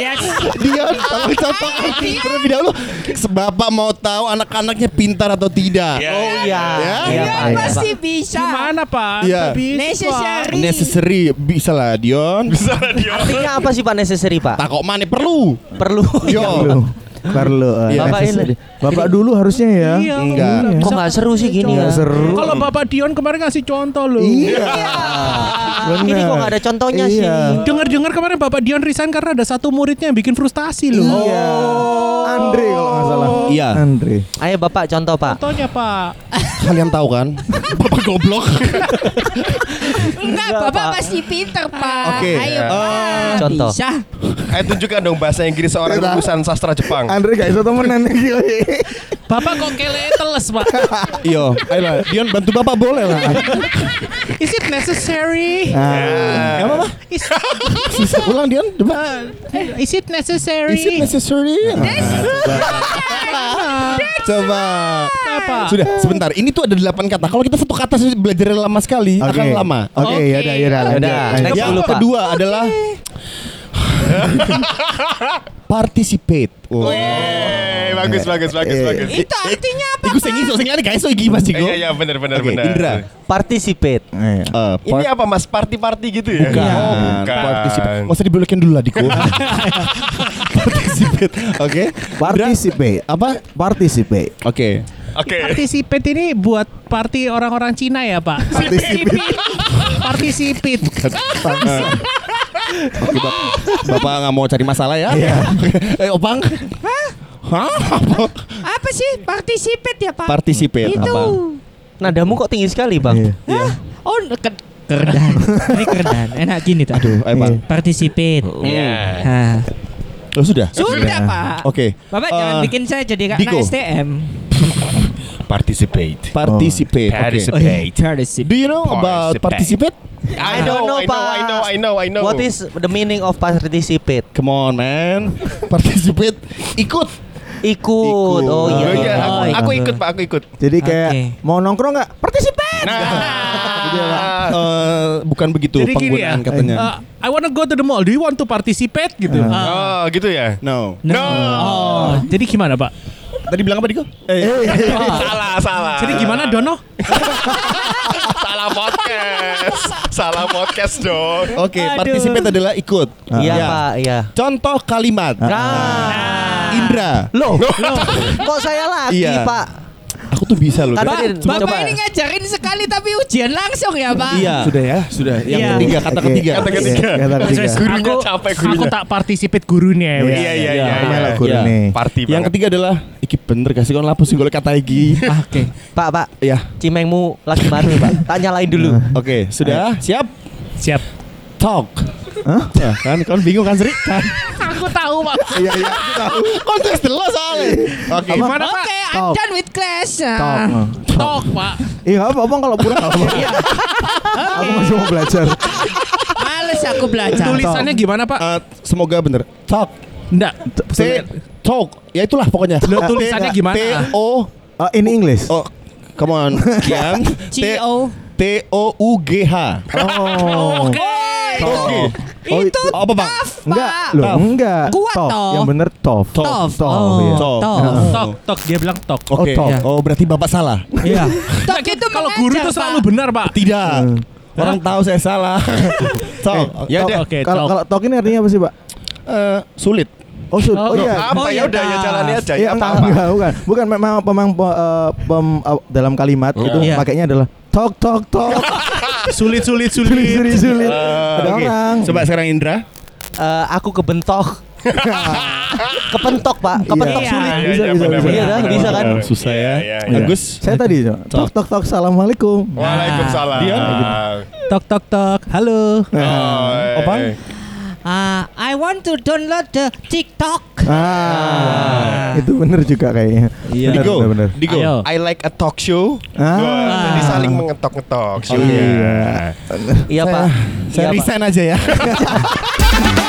Speaker 3: Yes.
Speaker 6: Iya,
Speaker 2: Dion, tolong contohkan terlebih dahulu. Bapak mau tahu anak-anaknya pintar atau tidak.
Speaker 5: Oh iya.
Speaker 2: Ya.
Speaker 5: Iya, Pak.
Speaker 3: Iya,
Speaker 5: Iya, Pak.
Speaker 3: pasti bisa.
Speaker 1: Gimana, Pak?
Speaker 2: Iya.
Speaker 1: Nggak bisa.
Speaker 3: Necessary.
Speaker 2: Necessary bisa lah Dion.
Speaker 6: bisa radio.
Speaker 5: Artinya apa sih Pak necessary Pak?
Speaker 2: Takok mana perlu.
Speaker 5: Perlu.
Speaker 2: Yo.
Speaker 4: Perlu, perlu. eh,
Speaker 2: Iya.
Speaker 5: Bapak ini.
Speaker 4: necessary. Bapak dulu harusnya ya.
Speaker 1: Iya,
Speaker 2: Enggak.
Speaker 1: bener.
Speaker 5: Kok nggak seru sih gini ya?
Speaker 4: Nggak seru.
Speaker 1: Kalau Bapak Dion kemarin ngasih contoh loh.
Speaker 4: Iya.
Speaker 5: Ini kok
Speaker 4: Bener.
Speaker 5: nggak ada contohnya sih?
Speaker 4: Iya.
Speaker 1: Dengar-dengar kemarin Bapak Dion resign karena ada satu muridnya yang bikin frustasi loh. Oh,
Speaker 4: Iya. Andre kalau nggak salah.
Speaker 2: Iya.
Speaker 4: Andre.
Speaker 5: Ayo Bapak contoh Pak.
Speaker 1: Contohnya Pak.
Speaker 2: Kalian tahu kan? Bapak goblok.
Speaker 8: Enggak,
Speaker 5: Pak.
Speaker 8: Bapak masih pinter, Pak.
Speaker 2: Oke.
Speaker 8: Ayo,
Speaker 2: Eh,
Speaker 8: Pak.
Speaker 5: Contoh.
Speaker 3: Bisa.
Speaker 6: Ayo Iya. Eh, tunjukkan dong bahasa Inggris seorang
Speaker 4: Kita-
Speaker 2: Iya.
Speaker 6: lulusan sastra Jepang.
Speaker 4: Andre gak bisa temenan nih.
Speaker 1: Bapak kok kele teles, Pak?
Speaker 2: Yo, ayolah Iya. Dion bantu Bapak boleh lah.
Speaker 1: Is it necessary?
Speaker 6: Iya.
Speaker 2: Nah. Gak apa-apa.
Speaker 1: Is,
Speaker 2: Sisa ulang Dion. Coba.
Speaker 1: is it necessary?
Speaker 2: Is it necessary? Nah, Coba.
Speaker 1: Apa?
Speaker 2: Sudah, sebentar. Ini tuh ada delapan kata. Kalau kita satu kata saja belajarnya lama sekali, akan lama.
Speaker 4: Oke, ya udah, ya udah.
Speaker 5: Yaudah, next
Speaker 2: Yang
Speaker 5: dulu Pak.
Speaker 2: kedua adalah participate. Oh.
Speaker 6: Wih, Eh, bagus
Speaker 2: Iya.
Speaker 6: bagus bagus bagus.
Speaker 3: Itu artinya apa?
Speaker 2: Iku sing iso sing ada guys, Oh, iki Mas Jigo.
Speaker 6: Iya iya benar benar
Speaker 2: Oke,
Speaker 6: benar.
Speaker 2: Indra.
Speaker 5: Participate.
Speaker 4: Iya.
Speaker 2: Eh,
Speaker 6: Ini
Speaker 2: part-
Speaker 6: apa Mas party-party gitu ya?
Speaker 2: Bukan.
Speaker 6: Oh, bukan.
Speaker 2: Participate. Nggak usah dibolokin dulu lah, Diko. participate. Oke. Indra,
Speaker 4: Participate.
Speaker 2: Apa?
Speaker 4: Participate.
Speaker 2: Oke.
Speaker 6: Oke.
Speaker 1: Participate ini buat party orang-orang Cina ya, Pak?
Speaker 4: Participate.
Speaker 1: Participate.
Speaker 2: Oke, Bap- Bapak nggak mau cari masalah ya? eh, Opang. Hah? Apa?
Speaker 3: Apa sih? Participate ya, Pak?
Speaker 2: Participate
Speaker 3: Itu.
Speaker 2: apa?
Speaker 5: Nadamu kok tinggi sekali Bang.
Speaker 4: Iya.
Speaker 3: Hah? Oh, ke kerendahan. Ini kerendahan. Enak gini tak?
Speaker 2: Aduh, ayo, Pak.
Speaker 3: Participate.
Speaker 6: Iya.
Speaker 3: Hah.
Speaker 2: Oh, sudah.
Speaker 3: Sudah, Pak.
Speaker 2: Oke.
Speaker 3: Bapak
Speaker 2: Eh,
Speaker 3: jangan bikin saya jadi anak
Speaker 2: Diko.
Speaker 3: STM.
Speaker 6: Mm. Participate.
Speaker 2: Participate. Oke.
Speaker 6: Participate.
Speaker 2: Do you know about
Speaker 6: Participate.
Speaker 2: participate?
Speaker 6: I know, I know, I know, I know, I know.
Speaker 5: What is the meaning of participate?
Speaker 2: Come on, man. participate. Ikut.
Speaker 5: Ikut. Oh iya.
Speaker 6: Oh, iya,
Speaker 5: iya.
Speaker 6: aku,
Speaker 5: Oh,
Speaker 6: aku
Speaker 5: iya.
Speaker 6: ikut pak, aku ikut.
Speaker 2: Gitu
Speaker 4: Jadi kayak
Speaker 3: Oke.
Speaker 4: mau nongkrong nggak? Participate.
Speaker 6: Nah.
Speaker 4: Jadi ya, Pak.
Speaker 2: Eh, bukan begitu
Speaker 1: Ah. Jadi gini ya,
Speaker 2: penggunaan katanya.
Speaker 1: uh, I wanna go to the mall. Do you want to participate gitu?
Speaker 2: Iya.
Speaker 1: Ah.
Speaker 6: Oh gitu ya.
Speaker 2: no.
Speaker 1: No. Oh, jadi gimana, Pak?
Speaker 2: Tadi bilang apa Diko? Eh,
Speaker 6: Salah, salah.
Speaker 1: Jadi gimana, Dono?
Speaker 6: salah podcast. salah podcast dong.
Speaker 1: eh,
Speaker 2: Oke,
Speaker 3: Aduh.
Speaker 2: participate adalah ikut.
Speaker 1: Ah.
Speaker 5: Iya,
Speaker 2: Ya.
Speaker 5: Pak, iya.
Speaker 2: Contoh kalimat.
Speaker 5: Nah.
Speaker 2: Indra.
Speaker 5: Loh, loh. Kok saya lagi,
Speaker 2: Iya.
Speaker 5: Pak?
Speaker 2: Aku tuh bisa loh.
Speaker 5: Tadi
Speaker 2: Pak.
Speaker 5: dia-
Speaker 3: Bapak
Speaker 5: coba.
Speaker 3: ini ngajarin sekali tapi ujian langsung ya Pak.
Speaker 2: Iya. Sudah ya, sudah. Yang
Speaker 1: Iya.
Speaker 2: ketiga kata
Speaker 4: Oke.
Speaker 2: ketiga.
Speaker 6: Kata ketiga.
Speaker 4: Iya, Kata ketiga.
Speaker 1: Guys,
Speaker 6: Gurunya
Speaker 1: aku,
Speaker 6: capek,
Speaker 1: Aku
Speaker 6: gurunya.
Speaker 1: tak participate gurunya ya.
Speaker 6: Iya, iya, iya,
Speaker 4: Iya,
Speaker 6: iya.
Speaker 4: lah, guru
Speaker 2: Iya.
Speaker 4: nih.
Speaker 6: Party
Speaker 2: Yang
Speaker 6: banget.
Speaker 2: ketiga adalah iki bener kasih kon lapo sing golek kata iki.
Speaker 3: Oke.
Speaker 5: Pak, Pak.
Speaker 2: Ya.
Speaker 5: Cimengmu lagi mati, Pak. Tak nyalain dulu.
Speaker 2: Oke, sudah. Siap.
Speaker 1: Siap.
Speaker 2: Talk. Hah? kan kon bingung kan Sri? Kan.
Speaker 1: Aku tahu, Pak.
Speaker 2: Iya, iya, aku tahu. Kon terus delok soalnya. Oke.
Speaker 1: Gimana, Pak?
Speaker 8: Oke, I'm done with class.
Speaker 4: Talk.
Speaker 8: Nah.
Speaker 1: Talk, Pak.
Speaker 4: Iya, nggak apa-apa kalau kurang nggak apa-apa. Aku masih mau belajar.
Speaker 3: Males aku belajar.
Speaker 1: Tulisannya gimana, Pak?
Speaker 2: Eh, semoga bener. Talk.
Speaker 1: Enggak.
Speaker 2: T talk. Ya itulah pokoknya.
Speaker 1: Lo
Speaker 2: T-
Speaker 1: tulisannya
Speaker 2: T-
Speaker 1: gimana?
Speaker 2: T O
Speaker 4: Oh, in English.
Speaker 2: Oh, come on. Kian. T
Speaker 3: CO.
Speaker 2: T O U G H.
Speaker 4: Oh.
Speaker 2: Oke.
Speaker 4: Oh,
Speaker 3: itu
Speaker 4: itu-
Speaker 2: Apa, Bang?
Speaker 3: tough,
Speaker 4: Enggak,
Speaker 3: Pak.
Speaker 4: loh,
Speaker 2: Tough.
Speaker 4: enggak.
Speaker 3: Kuat,
Speaker 4: Tough.
Speaker 3: toh.
Speaker 4: Yang bener tough.
Speaker 3: Tough.
Speaker 4: Tough,
Speaker 3: Oh,
Speaker 4: iya.
Speaker 2: Talk.
Speaker 3: Talk.
Speaker 1: Talk, talk. Dia bilang talk.
Speaker 4: Oh,
Speaker 2: Oke.
Speaker 4: talk.
Speaker 2: Oh, berarti Bapak salah.
Speaker 1: Iya.
Speaker 3: Talk itu
Speaker 1: Kalau guru
Speaker 3: mengajar,
Speaker 1: itu selalu
Speaker 3: Pak.
Speaker 1: benar, Pak.
Speaker 2: Tidak.
Speaker 4: Hmm.
Speaker 2: Orang tahu saya salah. Talk.
Speaker 6: Ya udah.
Speaker 1: Oke, talk.
Speaker 4: Kalau kalau talk ini artinya apa sih, Pak?
Speaker 2: Eh, sulit.
Speaker 4: Oh, sud.
Speaker 1: Talk.
Speaker 4: Oh iya.
Speaker 6: Apa
Speaker 3: Oh,
Speaker 6: ya
Speaker 3: iya,
Speaker 6: udah ya
Speaker 3: Pak.
Speaker 6: jalani aja.
Speaker 4: Iya,
Speaker 6: Ya
Speaker 4: enggak,
Speaker 6: apa?
Speaker 4: enggak, bukan. Bukan memang memang eh, pem- eh, dalam kalimat itu
Speaker 3: Iya.
Speaker 4: pakainya adalah talk talk talk.
Speaker 1: Sulit, sulit,
Speaker 4: sulit
Speaker 1: sulit.
Speaker 4: sulit sulit. Ada
Speaker 2: Oke.
Speaker 4: orang.
Speaker 2: Coba sekarang Indra.
Speaker 5: Eh, aku kebentok. kepentok, Pak. Kepentok
Speaker 4: Iya.
Speaker 5: sulit.
Speaker 4: Bisa, bisa, bisa.
Speaker 5: Iya, dah, bisa kan?
Speaker 2: Susah ya.
Speaker 6: Iya, iya.
Speaker 2: Agus.
Speaker 4: Saya tadi Cok. tok tok tok assalamualaikum.
Speaker 6: Waalaikumsalam. Nah, gitu.
Speaker 2: Dia?
Speaker 1: Tok, tok, tok. Halo.
Speaker 4: Nah.
Speaker 6: Oh,
Speaker 2: Apa?
Speaker 3: Ah, I want to download the TikTok.
Speaker 4: Ah, itu bener juga kayaknya. Iya. Bener,
Speaker 6: Digo,
Speaker 4: bener, bener.
Speaker 6: Digo,
Speaker 1: Ayo.
Speaker 6: I like a talk show.
Speaker 4: Ah.
Speaker 6: Wah, Jadi saling Iya.
Speaker 4: Iya.
Speaker 6: mengetok-ngetok. show-nya.
Speaker 5: Iya, Pak.
Speaker 2: Saya
Speaker 5: Iya, Pak.
Speaker 2: ya. resign aja ya.